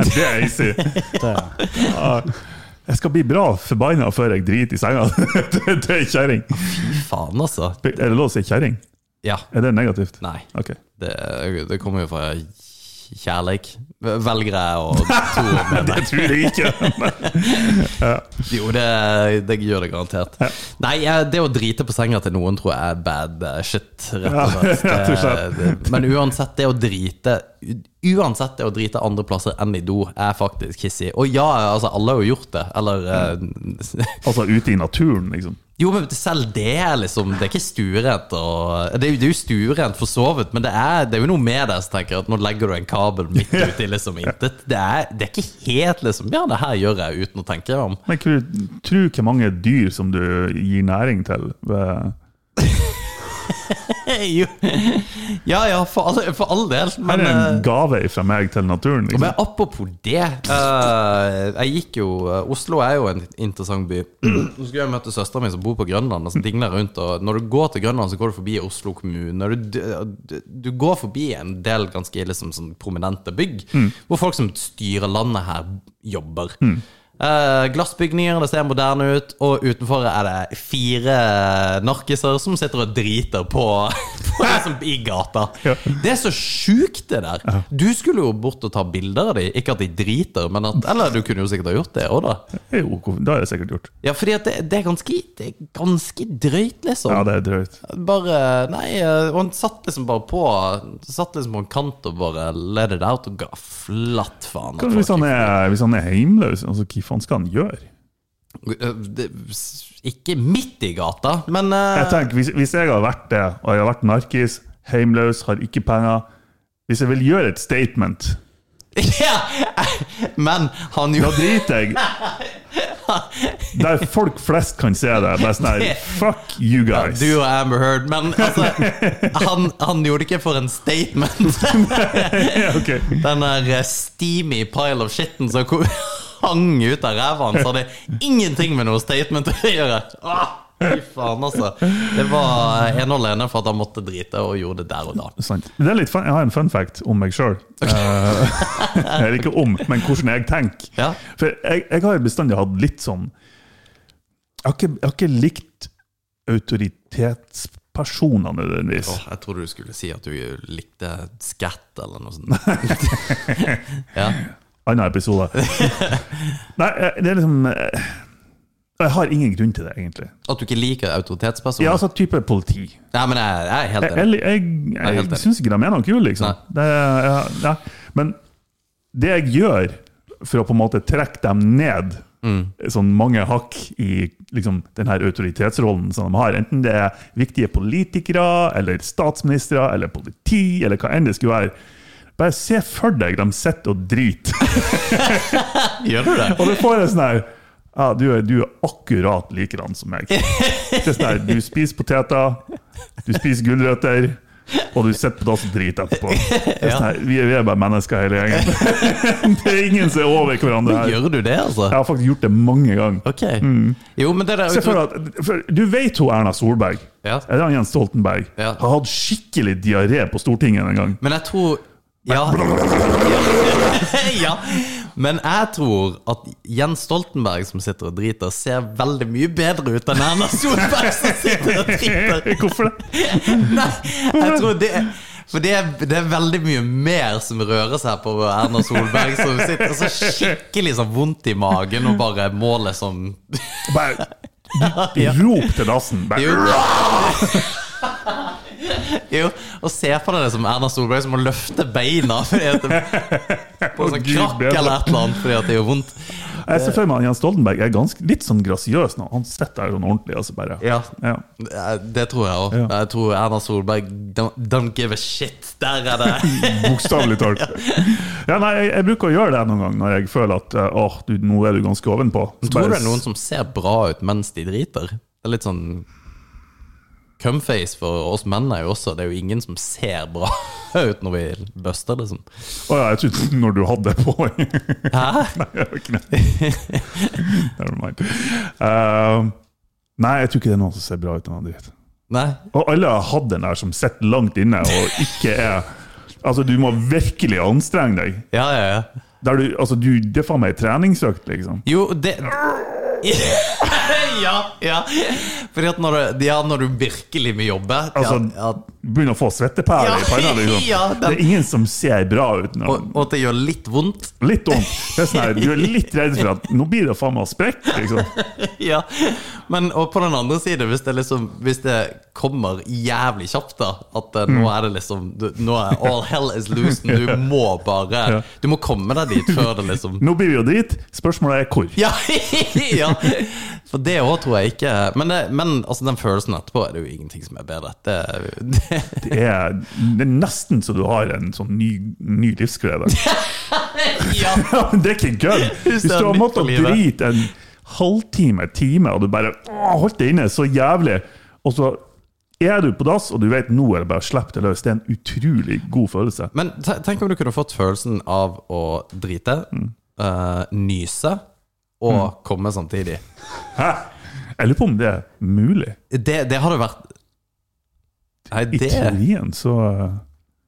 G: Det er easy.
H: det.
G: Ja. Jeg skal bli bra forbanna før jeg driter i senga. det det er kjerring.
F: Faen, altså.
G: Er det lov å si kjerring?
F: Ja.
G: Er det negativt?
F: Nei.
G: Ok.
F: Det, det kommer jo fra kjærleik. Velger jeg å tro med
G: Det
F: meg.
G: tror jeg ikke.
F: Jo, det, det gjør det garantert. Nei, eh, det å drite på senga til noen tror jeg er bad eh, shit, rett og
G: Ja,
F: slett. Eh,
G: rett og slett.
F: Det, det, men uansett, det å drite u- Uansett det å drite andre plasser enn i do er faktisk hissig. Og ja, altså, alle har jo gjort det. Eller eh,
G: Altså ute i naturen, liksom.
F: Jo, men selv det er liksom Det er ikke stuerent og Det er jo, det er jo stuerent for så vidt, men det er, det er jo noe med det som tenker at nå legger du en kabel midt ute i liksom intet. Det er, det er ikke helt liksom Ja, det her gjør jeg uten å tenke meg om.
G: Men kan du tro hvor mange dyr som du gir næring til? ved-
F: Jo. Ja ja, for all, for all del,
G: Her
F: men
G: er en
F: eh,
G: gave fra meg til naturen.
F: men
G: Liksom.
F: apropos det eh, Jeg gikk jo eh, Oslo er jo en interessant by. Nå skulle jeg møte søsteren min som bor på Grønland. Og som dingler rundt Og Når du går til Grønland, så går du forbi Oslo kommune. og Du, du, du går forbi en del ganske liksom, sånn prominente bygg, hvor folk som styrer landet her, jobber. Eh, glassbygninger, det ser moderne ut, og utenfor er det fire narkiser som sitter og driter på, på liksom, i gata. Det er så sjukt, det der. Du skulle jo bort og ta bilder av dem. Ikke at de driter, men at Eller du kunne jo sikkert ha gjort det òg, da.
G: Jo, det har jeg sikkert gjort.
F: Ja, fordi at det, det, er ganske, det er ganske drøyt, liksom.
G: Ja, det er drøyt.
F: Bare Nei, eh, og han satt liksom bare på Satt liksom på en kant og bare let it out og ga flatt faen.
G: Kanskje Hvis han er, hvis han er heimløs, altså, hva faen skal han gjøre?
F: Eh, det, Ikke midt i gata, men eh,
G: Jeg tenker, hvis, hvis jeg har vært det, og jeg har vært narkis, heimløs, har ikke penger Hvis jeg vil gjøre et statement,
F: Ja, men han
G: da
F: gjorde
G: driter jeg. Der folk flest kan se det. Bare sånn her Fuck you guys.
F: Du og Amber Heard, men altså han, han gjorde det ikke for en statement.
G: Ja, ok.
F: Den der eh, steamy pile of shitten som kom- hang ut av ræva hans, hadde ingenting med noe statement å gjøre. Ah, Fy faen, altså. Det var ene og alene for at han måtte drite, og gjorde det der og da.
G: Sant. Det er litt fun. Jeg har en fun fact om meg sjøl. Eller ikke om, men hvordan jeg tenker.
F: Ja.
G: For jeg, jeg har bestandig hatt litt sånn Jeg har ikke, jeg har ikke likt autoritetspersoner nødvendigvis.
F: Åh, jeg trodde du skulle si at du likte skatt eller noe sånt. ja.
G: Annen episode. Nei, jeg- det er liksom eh, Jeg har ingen grunn til det, egentlig.
F: At du ikke liker autoritetspersoner?
G: Ja, altså type politi.
F: Nei, men jeg, jeg er helt
G: Jeg,
F: enig.
G: jeg, jeg,
F: er helt
G: jeg
F: enig.
G: syns ikke de er noe kule, liksom.
F: Nei.
G: Det, er- ja, ja. Men det jeg gjør for å på en måte trekke dem ned
F: Mm.
G: sånn mange hakk i liksom, den her autoritetsrollen som de har, enten det er viktige politikere eller statsministre eller politi eller hva enn det skulle være Bare se for deg de sitter og driter.
F: Gjør du det?
G: Og du får en sånn her ja, du, er, du er akkurat likedan som meg. Det er sånn her, Du spiser poteter, du spiser gulrøtter, og du sitter på dass og driter etterpå. Det er sånn her, vi, er, vi er bare mennesker hele gjengen. Det er ingen som er over hverandre her.
F: Gjør du det, altså?
G: Jeg har faktisk gjort det mange ganger.
F: Ok. Jo, men det der
G: Mm. Se for deg at, for du vet hun Erna Solberg,
F: Ja.
G: eller Jens Stoltenberg,
F: Ja.
G: har hatt skikkelig diaré på Stortinget en gang.
F: Men jeg tror ja. ja. Men jeg tror at Jens Stoltenberg som sitter og driter, ser veldig mye bedre ut enn Erna Solberg som sitter og driter.
G: Hvorfor det?
F: Nei, jeg tror det For det er, det er veldig mye mer som rører seg på Erna Solberg, som sitter så skikkelig sånn vondt i magen og bare målet som
G: Bare rop til dassen. Bare,
F: Jo. Jo, og se på deg som Erna Solberg som må løfte beina fordi at på en sånn
G: Gud
F: krakk
G: bedre.
F: eller et eller annet fordi at det gjør vondt.
G: Jeg ser for meg at Jens Stoltenberg er ganske, litt sånn grasiøs nå. Han sitter der sånn ordentlig. Altså bare.
F: Ja.
G: Ja.
F: Eh, Det tror jeg òg.
G: Ja.
F: Jeg tror Erna Solberg don't, don't give a shit. Der er det
G: Bokstavelig talt. ja, nei, jeg, jeg bruker å gjøre det noen ganger når jeg føler at eh, åh, du, nå er du ganske ovenpå. Så
F: Tror du
G: bare
F: det er noen som ser bra ut mens de driter? Det er litt sånn Cumface for oss menn er jo også Det er jo ingen som ser bra ut når vi buster, liksom.
G: s- Å ja, jeg trodde når du hadde det på.
F: Hæ?
G: nei, jeg har ikke det. Never mind. Eh, nei, jeg tror ikke det er noen som ser bra ut når han driter.
F: Nei.
G: Og alle har hatt den der som sitter langt inne og ikke er Altså, du må virkelig anstrenge deg.
F: Ja, ja, ja.
G: Der du, altså, du, det er faen meg en treningsøkt, liksom.
F: Jo, det Ja, ja. Fordi at når du, ja, når du virkelig må jobbe ja,
G: Altså,
F: ja.
G: Begynner å få svettepærer
F: Ja,
G: i panna. Liksom.
F: ja, den-
G: Det er ingen som ser bra ut. Nå.
F: Og, og at det gjør litt vondt.
G: Litt vondt. Det er sånn her, Du er litt redd for at nå blir det faen meg sprekk. Liksom.
F: Ja, men og på den andre siden, hvis det, liksom, hvis det kommer jævlig kjapt, da At eh, nå er det liksom du, Nå er all hell is loosen. Du må bare Du må komme deg dit før det liksom
G: Nå blir vi jo dit. Spørsmålet er hvor.
F: Ja! ja. For det òg tror jeg ikke Men, det, men altså, den følelsen etterpå er det jo ingenting som er bedre. Det, det,
G: Det er, det er nesten så du har en sånn ny, ny livsglede.
F: ja.
G: Ja, men det er ikke gøy! Hvis du har måttet drite en halvtime, time, og du bare åh, holdt deg inne så jævlig, og så er du på dass, og du vet nå er det bare å slippe det løs. Det er en utrolig god følelse.
F: Men te- tenk om du kunne fått følelsen av å drite,
G: Mm.
F: eh, nyse og komme samtidig.
G: Hæ? Jeg lurer på om det er mulig.
F: Det, det hadde vært Nei,
G: I
F: det
G: teorien så eh,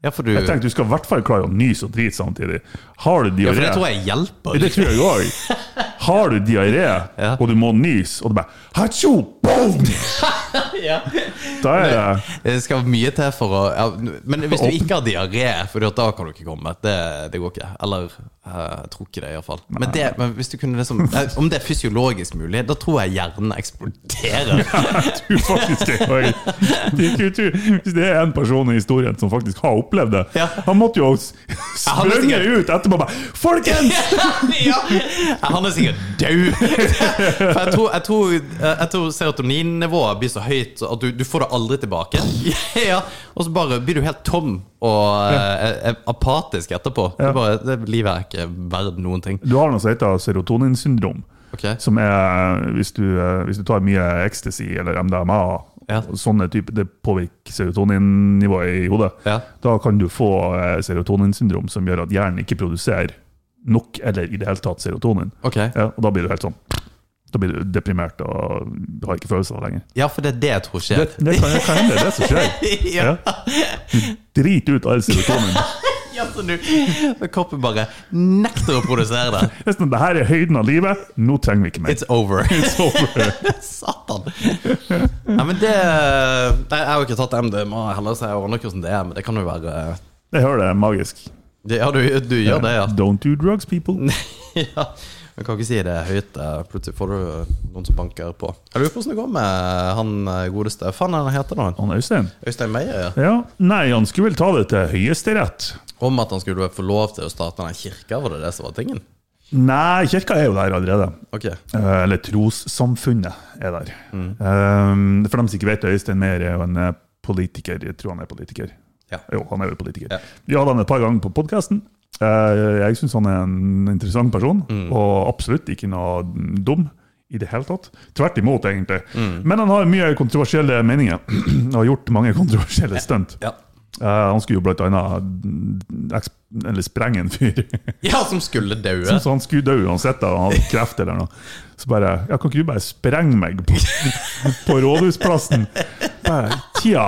F: Ja, for du
G: Jeg tenkte du skal i hvert fall klare å nyse og drite samtidig. Har
F: Ja,
G: du
F: for
G: diaré
F: det tror jeg hjelper.
G: Det tror jeg òg. Har du diaré,
F: Ja.
G: og du må nyse, og du bare Hatsjo! Boom! Da er det
F: Det skal mye til for å ja, Men hvis du ikke har diaré, for da kan du ikke komme. Det, det går ikke. Eller eh, jeg tror ikke det, iallfall. Men, det, men hvis du kunne liksom eh, Om det er fysiologisk mulig, da tror jeg hjernen eksploderer.
G: du faktisk er høy. Det er ikke ut- Hvis det er en person i historien som faktisk har opplevd det
F: Ja.
G: Han måtte jo s-
F: han er
G: sprunge
F: sikkert-
G: ut etterpå og bare Folkens!
F: ja. Han er sikkert død. For jeg tror, jeg tror, jeg tror serotoninnivået blir så høyt at du, du får det aldri tilbake. Ja. Og så bare blir du helt tom og eh, eh, apatisk etterpå. Du bare, det, livet er ikke verdt noen ting.
G: Du har noe som heter serotoninsyndrom.
F: Ok.
G: Som er hvis du, eh, hvis du tar mye ecstasy eller MDMA,
F: Ja.
G: og sånne type, det påvirker serotoninnivået i hodet,
F: Ja.
G: da kan du få eh, serotoninsyndrom som gjør at hjernen ikke produserer nok eller i det hele tatt serotonin.
F: Ok.
G: Ja, og da blir du helt sånn Da blir du deprimert og har ikke følelser lenger.
F: Ja, for det er det jeg tror
G: Det,
F: skjer.
G: det kan det kan hende det er det som skjer.
F: ja.
G: Du driter ut all serotonin.
F: ja, så du så Kroppen bare nekter å produsere det.
G: Det er sånn, Det her er høyden av livet, nå trenger vi ikke mer.
F: It's over. Satan! Nei, men det Nei, Jeg har jo ikke tatt MDMA heller, så jeg aner ikke hvordan det er, E men det kan jo være eh,
G: Jeg hører det er magisk.
F: det, Ja, du, du gjør det, ja.
G: Don't do drugs, people.
F: ja. Jeg kan ikke si det høyt. eh, Plutselig får du noen som banker på. Jeg lurer på hvordan det går med han eh, godeste Faen, han heter nå
G: Han Sånn, Øystein?
F: Øystein Meyer, ja.
G: Ja. Nei, han skulle vel ta det til Høyesterett.
F: Om at han skulle få lov til å starte den kirka, var det det som var tingen?
G: Nei, kirka er jo der allerede.
F: Ok.
G: Eh, Eller trossamfunnet er der.
F: Mm.
G: Eh, For dem som ikke vet, Øystein Meyer er jo en eh, politiker. Jeg tror han er politiker.
F: Ja.
G: Jo, han er jo politiker.
F: Ja.
G: Vi hadde han et par ganger på podkasten. Jeg syns han er en interessant person,
F: Mm.
G: og absolutt ikke noe dum i det hele tatt. Tvert imot, egentlig.
F: Mm.
G: Men han har mye kontroversielle meninger, og har gjort mange kontroversielle stunt.
F: Ja.
G: Eh, han skulle jo blant annet mm, eks- eller sprenge en fyr.
F: ja, som skulle daue.
G: Så han skulle dø uansett, da, han hadde kreft eller noe. Så bare ja, Kan ikke du bare sprenge meg på, på Rådhusplassen? Bare, Tja.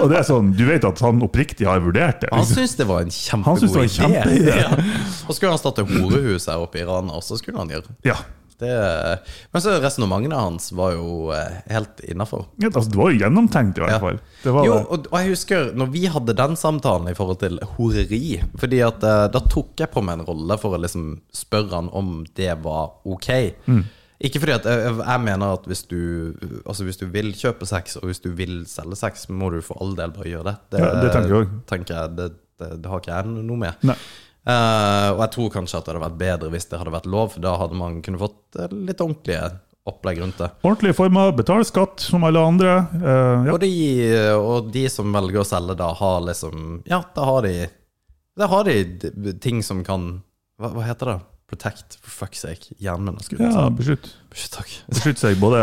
G: Og det er sånn, Du vet at han oppriktig har vurdert det?
F: Han
G: Liksom.
F: syntes det var en
G: Han syntes
F: kjempegod
G: det var en kjempeidé.
F: Ja. Og så skulle han starte horehus her oppe i Rana, og så skulle han gjøre
G: Ja.
F: det. eh, Men så resonnementene hans var jo eh, helt innafor.
G: Ja, Altså, det var jo gjennomtenkt, i hvert fall. Det var
F: Jo,
G: det.
F: og, og jeg husker når vi hadde den samtalen i forhold til horeri. Fordi at eh, da tok jeg på meg en rolle for å liksom spørre han om det var ok.
G: Mm.
F: Ikke fordi at jeg, jeg- jeg mener at hvis du, altså hvis du vil kjøpe sex, og hvis du vil selge sex, må du for all del bare gjøre det. Det,
G: Ja, det tenker jeg også.
F: tenker jeg, det, det, det har ikke jeg noe med.
G: Nei.
F: Eh, og jeg tror kanskje at det hadde vært bedre hvis det hadde vært lov, for da hadde man kunne fått eh, litt ordentlige opplegg rundt det.
G: Ordentlige former, betaler skatt som alle andre. eh, ja.
F: Og, de, og de som velger å selge, da har liksom Ja, da har de Da har de d- ting som kan Hva, hva heter det? Protect, for fuck's sake. Hjernen min har skutt.
G: ja, beskytt.
F: Ikke Takk.
G: Beskytte seg både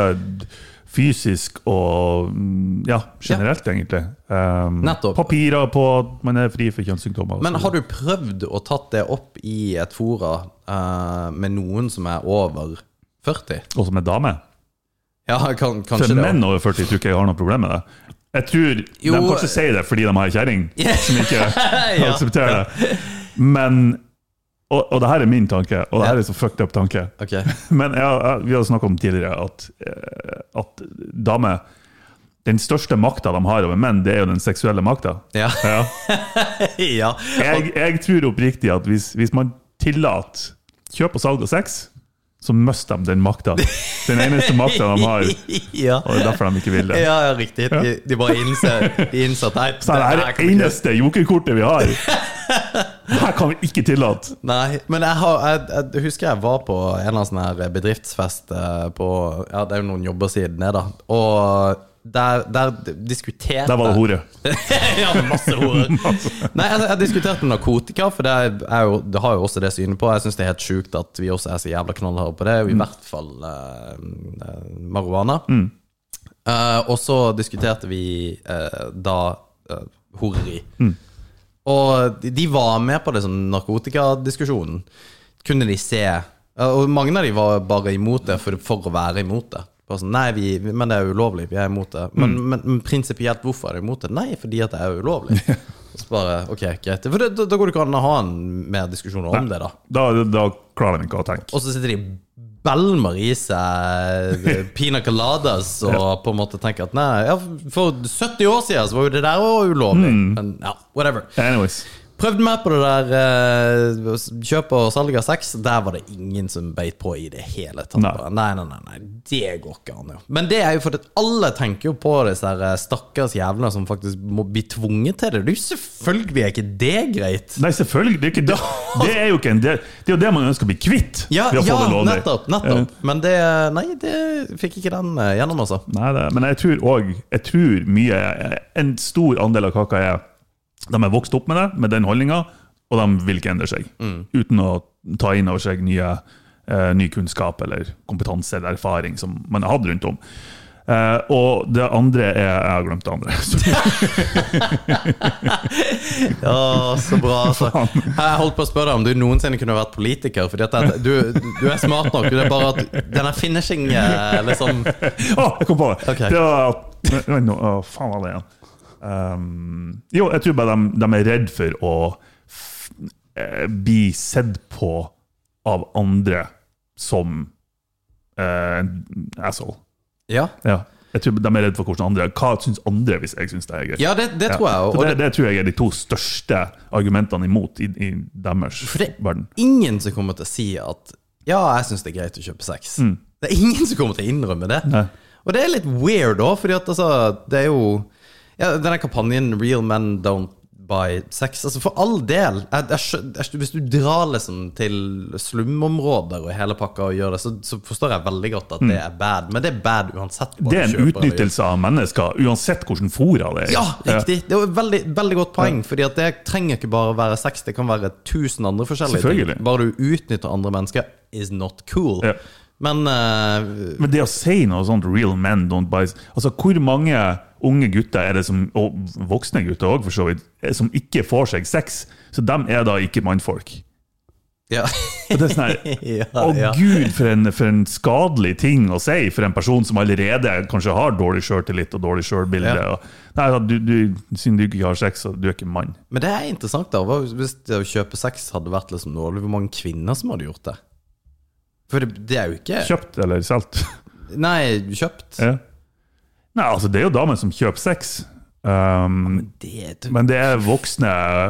G: fysisk og mm, ja, generelt, egentlig. Um,
F: Nettopp.
G: Papirer på at man er fri for kjønnssykdommer. og
F: Men
G: så
F: har du prøvd å tatt det opp i et fora eh, med noen som er over 40?
G: Og som en dame.
F: Ja, kan, kanskje
G: For
F: det.
G: menn over 40 tror ikke jeg har noe problem med det. Jeg tror
F: Jo,
G: De kanskje sier det fordi de har ei kjerring som ikke
F: Ja.
G: aksepterer det. Men og, og det her er min tanke, og det her er så fucked up tanke.
F: Ok.
G: Men jeg, jeg, vi har snakka om tidligere at, eh, at damer Den største makta de har over menn, det er jo den seksuelle makta.
F: Ja.
G: Ja.
F: ja.
G: Jeg, jeg tror oppriktig at hvis, hvis man tillater kjøp og salg av sex, så mister de den makta. Den eneste makta de har.
F: ja.
G: Og det er derfor de ikke vil det.
F: Ja, ja, riktig. De, de bare innser, de innser at nei,
G: Så det er
F: her
G: det
F: kan vi ikke-
G: eneste jokerkortet vi har. Det her kan vi ikke tillate.
F: Nei, men jeg, har, jeg, jeg husker jeg var på en eller annen sånn her bedriftsfest eh, på Ja, det er jo noen jobber siden ned, da. Og der, der diskuterte
G: Der var det hore.
F: ja, masse horer. Nei, jeg, jeg diskuterte narkotika, for det, er jo, det har jo også det synet på. Jeg syns det er helt sjukt at vi også er så jævla knallharde på det,
G: Mm.
F: og i hvert fall eh, eh, marihuana. Eh, og så diskuterte vi eh, da eh, horeri.
G: Mm.
F: Og de- de var med på det sånn narkotikadiskusjonen. Kunne de se eh, Og mange av de var bare imot det for, for å være imot det. Bare sånn, nei, vi, men det er ulovlig. Vi er imot det. Men, men, men prinsipielt, hvorfor er de imot det? Nei, fordi at det er ulovlig. Og Så bare, ok, greit. For det, da, da går det ikke an å ha en mer diskusjoner om det, da.
G: Da, da klarer de ikke å tenke.
F: Og så sitter de belmer i seg eh, pina coladas og på en måte tenker at nei, ja, for 70 år siden så var jo det der òg ulovlig. Men ja, whatever.
G: Anyways.
F: Prøvd meg på det der eh, kjøp og salg av sex. Der var det ingen som beit på i det hele tatt.
G: Nei.
F: Bare, Nei, nei, nei, nei, det går ikke an. Jo. Men det er jo fordi at alle tenker jo på disse her eh, stakkars jævlene som faktisk må bli tvunget til det. Det er jo selvfølgelig er ikke det greit.
G: Nei, selvfølgelig. Det er, ikke, det, det er jo ikke en del Det er jo det man ønsker å bli kvitt.
F: Ja,
G: ved å få
F: ja
G: det lovlig.
F: nettopp, nettopp. Men det Nei, det fikk ikke den eh, gjennom, altså.
G: Nei, det, men jeg tror òg Jeg tror mye En stor andel av kaka er De er vokst opp med det, med den holdninga, og de vil ikke endre seg. Uten å ta inn over seg nye, eh, ny kunnskap eller kompetanse eller erfaring som man har hatt rundt om. Eh, og det andre er Jeg har glemt det andre. Så,
F: Ja, så bra. Altså. Jeg holdt på å spørre deg om du noensinne kunne vært politiker. Fordi at det- du, du er smart nok, det er bare at denne finishing eh, liksom
G: Å, jeg kom på det!
F: Ok.
G: Det var at Nei, nå- å, faen var det igjen. Um, jo, jeg tror bare de, de er redd for å f- eh, bli sett på av andre som eh, asshole.
F: Ja,
G: Ja. Jeg tror de er redd for hvordan andre Hva syns andre hvis jeg syns det er gøy?
F: ja det, det tror jeg
G: Ja.
F: òg.
G: Så
F: Og
G: det,
F: det
G: det tror jeg er de to største argumentene imot i, i deres
F: For det-
G: verden.
F: er ingen som kommer til å si at ja, jeg syns det er greit å kjøpe sex. Det er ingen som kommer til å innrømme det.
G: Mm. Nei.
F: Og det er litt weird òg, fordi at altså, det er jo ja, Denne kampanjen Real Men Don't Buy Sex altså For all del. Jeg, jeg, skjø- jeg, skjø- hvis du drar liksom til slumområder og hele pakka og gjør det, så, så forstår jeg veldig godt at det er bad. Men det er bad uansett. hva
G: Mm. Det
F: du
G: er en
F: kjøper eller gjør.
G: utnyttelse av mennesker, uansett hvordan fora det er.
F: Ja, riktig! Det er jo et veldig, veldig godt poeng. Fordi at det trenger ikke bare være sex, det kan være tusen andre forskjellige
G: Selvfølgelig.
F: ting. Bare du utnytter andre mennesker, is not cool.
G: Ja.
F: Men eh,
G: Men det å si noe sånt 'real men don't buy' Altså, Hvor mange unge gutter er det som, og voksne gutter òg, for så vidt, er- som ikke får seg sex? Så dem er da ikke mannfolk.
F: ja.
G: Og det er sånn her,
F: ja,
G: Å
F: ja.
G: gud, for en, for en skadelig ting å si for en person som allerede kanskje har dårlig sjøltillit og dårlig sjølbilde.
F: Ja.
G: og- Nei, da, du, du, siden du ikke har sex, så du er ikke mann.
F: Men det er interessant, da. Hva Hvis det å kjøpe sex hadde vært liksom noe, hvor mange kvinner som hadde gjort det? For det, det er jo ikke
G: Kjøpt eller solgt.
F: Nei, kjøpt.
G: Ja. Nei, altså, det er jo damer som kjøper sex. Um,
F: Det,
G: men det er voksne,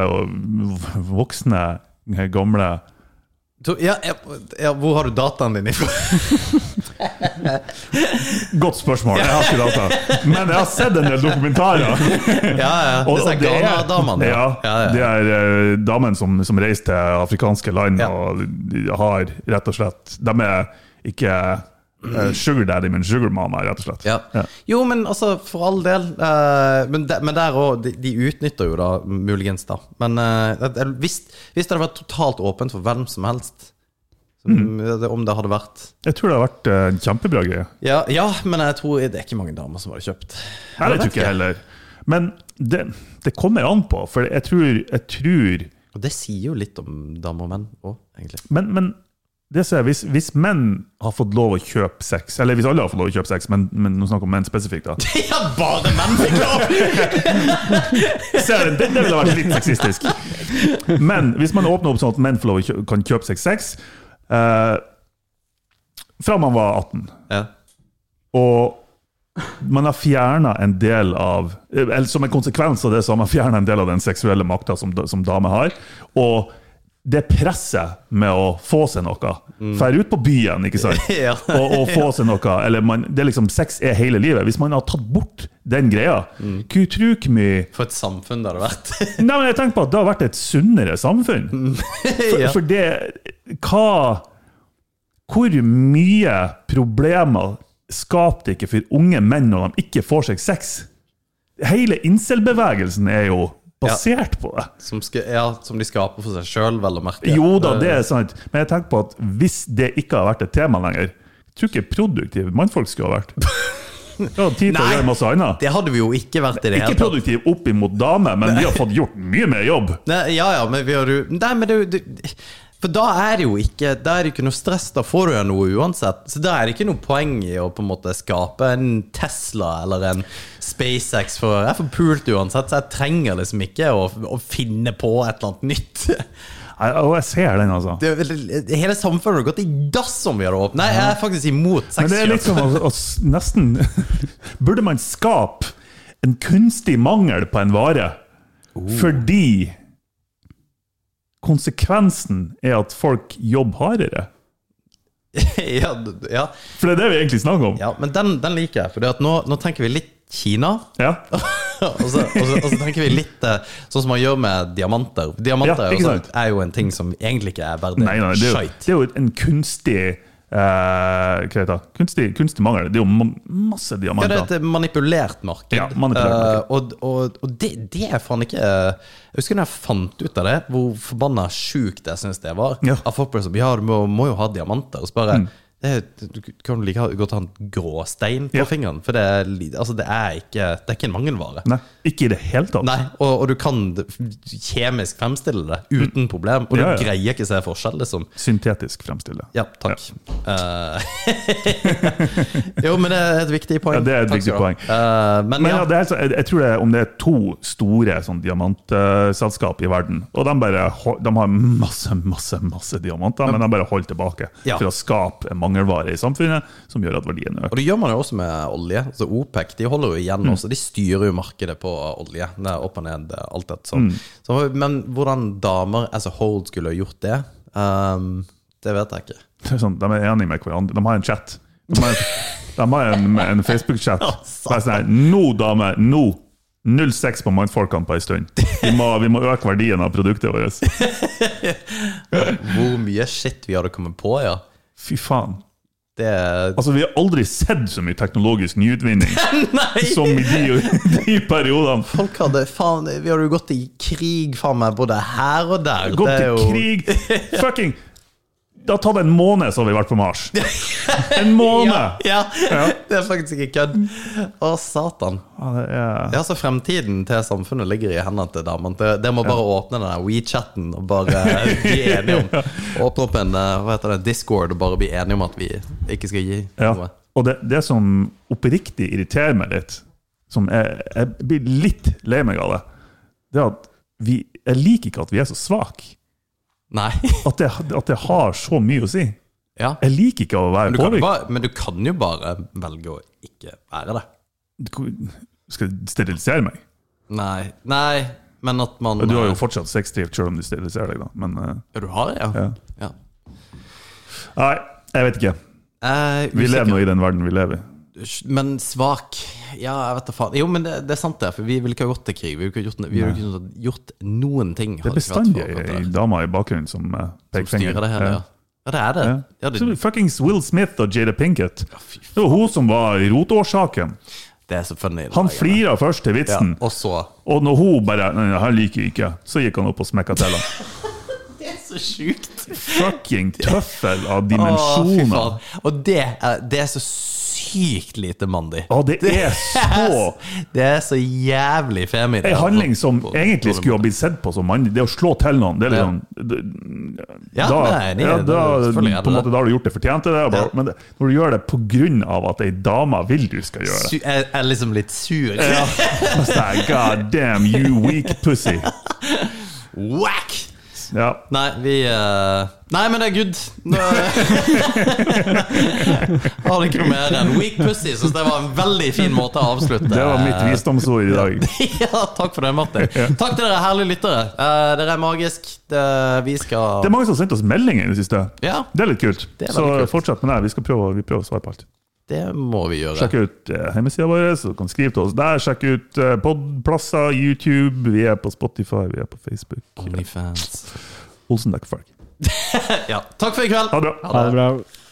G: og voksne gamle
F: to, ja, ja, ja, hvor har du dataen din ifra?
G: Godt spørsmål, jeg har ikke data. Men jeg har sett en del dokumentarer.
F: ja, ja.
G: Og-
F: Disse
G: og det er- sånn
F: Ghana-damene.
G: Ja, det
F: ja.
G: er eh, damene som, som reiser til afrikanske land
F: Ja.
G: og de har rett og slett De er ikke eh, sugar daddy, men sugar mama, rett og slett.
F: Ja. Jo, men altså, for all del. eh, men, de, men der òg, de, de utnytter jo da muligens, da. Men eh, det- det- hvis, hvis det hadde vært totalt åpent for hvem som helst, som,
G: Mm.
F: det- om det hadde vært
G: Jeg tror det har vært eh, en kjempebra greie.
F: ja, ja, men jeg tror det er ikke mange damer som hadde kjøpt.
G: Nei, det tror ikke jeg heller. Men det, det kommer an på, for jeg tror, jeg tror
F: Og det sier jo litt om damer og menn òg, egentlig.
G: Men, men det ser jeg, hvis, hvis menn har fått lov å kjøpe sex, eller hvis alle har fått lov å kjøpe sex, men, men nå snakker vi om menn spesifikt, da
F: ja, bare menn fikk lov!
G: Ser du, det, det ville vært litt sexistisk. Men hvis man åpner opp sånn at menn får lov å kjø kan kjøpe seg sex eh, Fra man var 18,
F: ja.
G: og man har fjerna en del av eh, Eller som en konsekvens av det, så har man fjerna en del av den seksuelle makta som, da- som damer har. Og det presset med å få seg noe. Drar ut på byen, ikke sant?
F: Ja.
G: og, og få seg noe. Eller man, det er liksom, sex er hele livet. Hvis man har tatt bort den greia, mm. tro hvor mye
F: For et samfunn det hadde vært.
G: Nei, men jeg tenker på at det har vært et sunnere samfunn. For,
F: Mm. ja.
G: for det Hva Hvor mye problemer skaper det ikke for unge menn når de ikke får seg sex? Hele incel-bevegelsen er jo basert på det.
F: Som, sk- ja, som de skaper for seg sjøl, vel å merke.
G: Jo da, det er sant. Men jeg tenker på at hvis det ikke har vært et tema lenger, tror ikke produktive mannfolk skulle ha vært. Jeg hadde tid til å
F: Nei.
G: gjøre masse annet.
F: Det hadde vi jo ikke vært i det
G: Ikke
F: hele tatt.
G: produktiv opp imot damer, men vi har fått gjort mye mer jobb.
F: Nei, ja, ja, men vi har jo Nei, men det, er jo- det For da er det jo ikke Da er det ikke noe stress, da får du jo noe uansett. Så da er det ikke noe poeng i å på en måte skape en Tesla eller en SpaceX, for jeg får pult uansett, så jeg trenger liksom ikke å, å finne på et eller annet nytt.
G: Nei, Og jeg ser den, altså.
F: Det, er vel- hele samfunnet hadde gått i dass om vi hadde åpnet. Nei, jeg er faktisk imot
G: Men det
F: sexkjøp.
G: er litt som å, å s- nesten Burde man skape en kunstig mangel på en vare
F: Oh.
G: fordi konsekvensen er at folk jobber hardere?
F: ja, d- ja.
G: For det er det vi egentlig snakker om. Ja.
F: ja, men den, den liker jeg, for nå, nå tenker vi litt Kina. og, så, og, så, og så tenker vi litt eh, sånn som man gjør med diamanter. Diamanter
G: Ja,
F: er,
G: ikke
F: jo
G: sant?
F: sånn, er jo en ting som egentlig ikke er verdt
G: Nei, nei, det er jo,
F: skjøyt.
G: det er jo en kunstig eh, Hva heter det? Kunstig, kunstig mangel. Det er jo ma- masse
F: Ja, det er
G: diamanter.
F: et eh, manipulert marked.
G: Ja, manipulert marked.
F: Eh, og og, og det, det er faen ikke eh, Jeg husker da jeg fant ut av det, hvor forbanna sjukt jeg syns det var.
G: Ja. Mm.
F: Av folk bare som, ja, du må, må jo ha diamanter. Og så bare det er, du kan like godt ha en gråstein på
G: Ja.
F: fingeren, for det er, li- altså det, er ikke, det er ikke en mangelvare.
G: Nei, ikke i det hele tatt.
F: Nei, og, og du kan d- kjemisk fremstille det uten problem, og du
G: Ja, ja.
F: greier ikke å se forskjell, liksom.
G: Syntetisk fremstille.
F: Ja, takk. Eh, jo, men det er et viktig poeng.
G: Ja, det er et
F: Takk
G: viktig
F: skal du ha.
G: poeng.
F: Eh, men,
G: Men
F: ja,
G: ja, det er, helt så- jeg, jeg tror det, er- om det er to store sånn, diamantselskap i verden, og de, bare, hol- de har masse, masse masse diamanter, men de bare holder tilbake
F: Ja.
G: for å skape en mangelvare i samfunnet som gjør at verdien
F: Og
G: øker.
F: det gjør man jo også med olje. Så OPEC de holder jo
G: Mm.
F: igjen også. De styrer jo markedet på eh, olje. Det er opp og ned, alt det sånn.
G: Mm.
F: Så, men hvordan damer as a whole skulle ha gjort det, ehm, det vet jeg ikke.
G: Det er Sånn, de er enige med hverandre. De har en chat. De har, de har en, en Facebook-chat. Bare sånn her, Nå, damer! Nå! 0,6 på mannfolkene på ei stund. Vi må, vi må øke verdien av produktet vårt.
F: Hvor mye shit vi hadde kommet på, ja.
G: Fy faen.
F: Det er
G: Altså, vi har aldri sett så mye teknologisk nyutvinning
F: Nei!
G: som i de, de periodene.
F: Folk hadde faen Vi hadde jo gått i krig, faen meg, både her og der.
G: Gått
F: Det er
G: til
F: jo-
G: krig! Fucking Det har tatt en måned, så har vi vært på Mars. En måned!
F: Ja, det er faktisk ikke kødd. Å, satan.
G: Ja, det er,
F: Ja, så Fremtiden til samfunnet ligger i hendene til damene. Det, det må bare åpne den der WeChat-en og bare bli enige om Åpne opp en eh, hva heter det, Discord og bare bli enige om at vi ikke skal gi
G: ja.
F: noe.
G: Og det, det som oppriktig irriterer meg litt, som jeg, jeg blir litt lei meg av det, det er at vi, jeg liker ikke at vi er så svake.
F: Nei.
G: At det, at det har så mye å si.
F: Ja.
G: Jeg liker ikke å
F: Men
G: være
F: du, kan jo
G: påvirket.
F: bare, men du kan jo bare velge å ikke være det.
G: Skal jeg sterilisere meg?
F: Nei. Nei, men at man eh,
G: Du har jo fortsatt sexdrift selv om du steriliserer deg, da. Men eh,
F: Ja, du har det, ja? ja.
G: Nei, jeg vet ikke.
F: Eh,
G: Vi
F: usikker.
G: lever nå i den verden vi lever i.
F: Men svak Ja, jeg vet da faen. Jo, men det, det er sant, det. For vi ville ikke ha gått til krig. Vi ville ikke ha gjort, no- vi ville ikke ha gjort noen ting. hadde
G: Det er
F: ikke vært
G: bestandig
F: for akkurat det
G: ei
F: der.
G: dame i bakgrunnen som eh,
F: Som
G: peker
F: styrer det her, ja. Ja, det er det.
G: Ja.
F: Ja,
G: Så
F: det,
G: Fuckings Will Smith og Jada Pinkett. Det var hun som var rotårsaken.
F: det er så funny. det
G: Han
F: der, ja.
G: flira først til
F: ja,
G: vitsen,
F: Og så
G: og når hun bare Nei, det her liker jeg ikke, så gikk han opp og smekka til ham.
F: Det er så sjukt!
G: Fucking tøffel
F: Å, fy
G: av
F: faen.
G: dimensjoner!
F: Og det er, det er så sykt lite mandig.
G: Å, det er så
F: Det er så jævlig femi. det
G: Ei
F: her.
G: handling som
F: På- på-
G: egentlig
F: på-
G: skulle ha blitt sett på som mandig. Det å slå til noen, det er liksom
F: Ja,
G: da,
F: nei, det-
G: ja,
F: det-
G: da,
F: selvfølgelig er det
G: på en måte,
F: det.
G: da har du gjort det fortjente det. og Bare,
F: Ja.
G: Men det, når du gjør det på grunn av at ei dame vil du skal gjøre det
F: Su- Jeg jeg er liksom litt sur.
G: Og så er jeg, God damn, you weak pussy.
F: Whack!
G: Ja.
F: Nei, vi eh, Nei, men det er good. Nå Jeg har det ikke noe mer enn weak pussy. Syns det var en veldig fin måte å avslutte
G: Det var mitt visdomsord i dag.
F: ja, takk for det, Martin. Takk til dere herlige lyttere. Eh, dere er magisk. Det, vi skal
G: Det er mange som har sendt oss meldinger i det siste.
F: Ja.
G: Det er litt kult.
F: Det er
G: så
F: veldig kult.
G: fortsett med det. Vi, skal prøve, vi prøver å svare på alt.
F: Det må vi gjøre.
G: Sjekk ut eh, hjemmesida vår, så du kan skrive til oss der. Sjekk ut eh, podplasser, YouTube. Vi er på Spotify, vi er på Facebook.
F: Onlyfans.
G: Olsen Dekkfolk.
F: Ja. Takk for i kveld.
G: Ha det bra.
H: Ha det bra.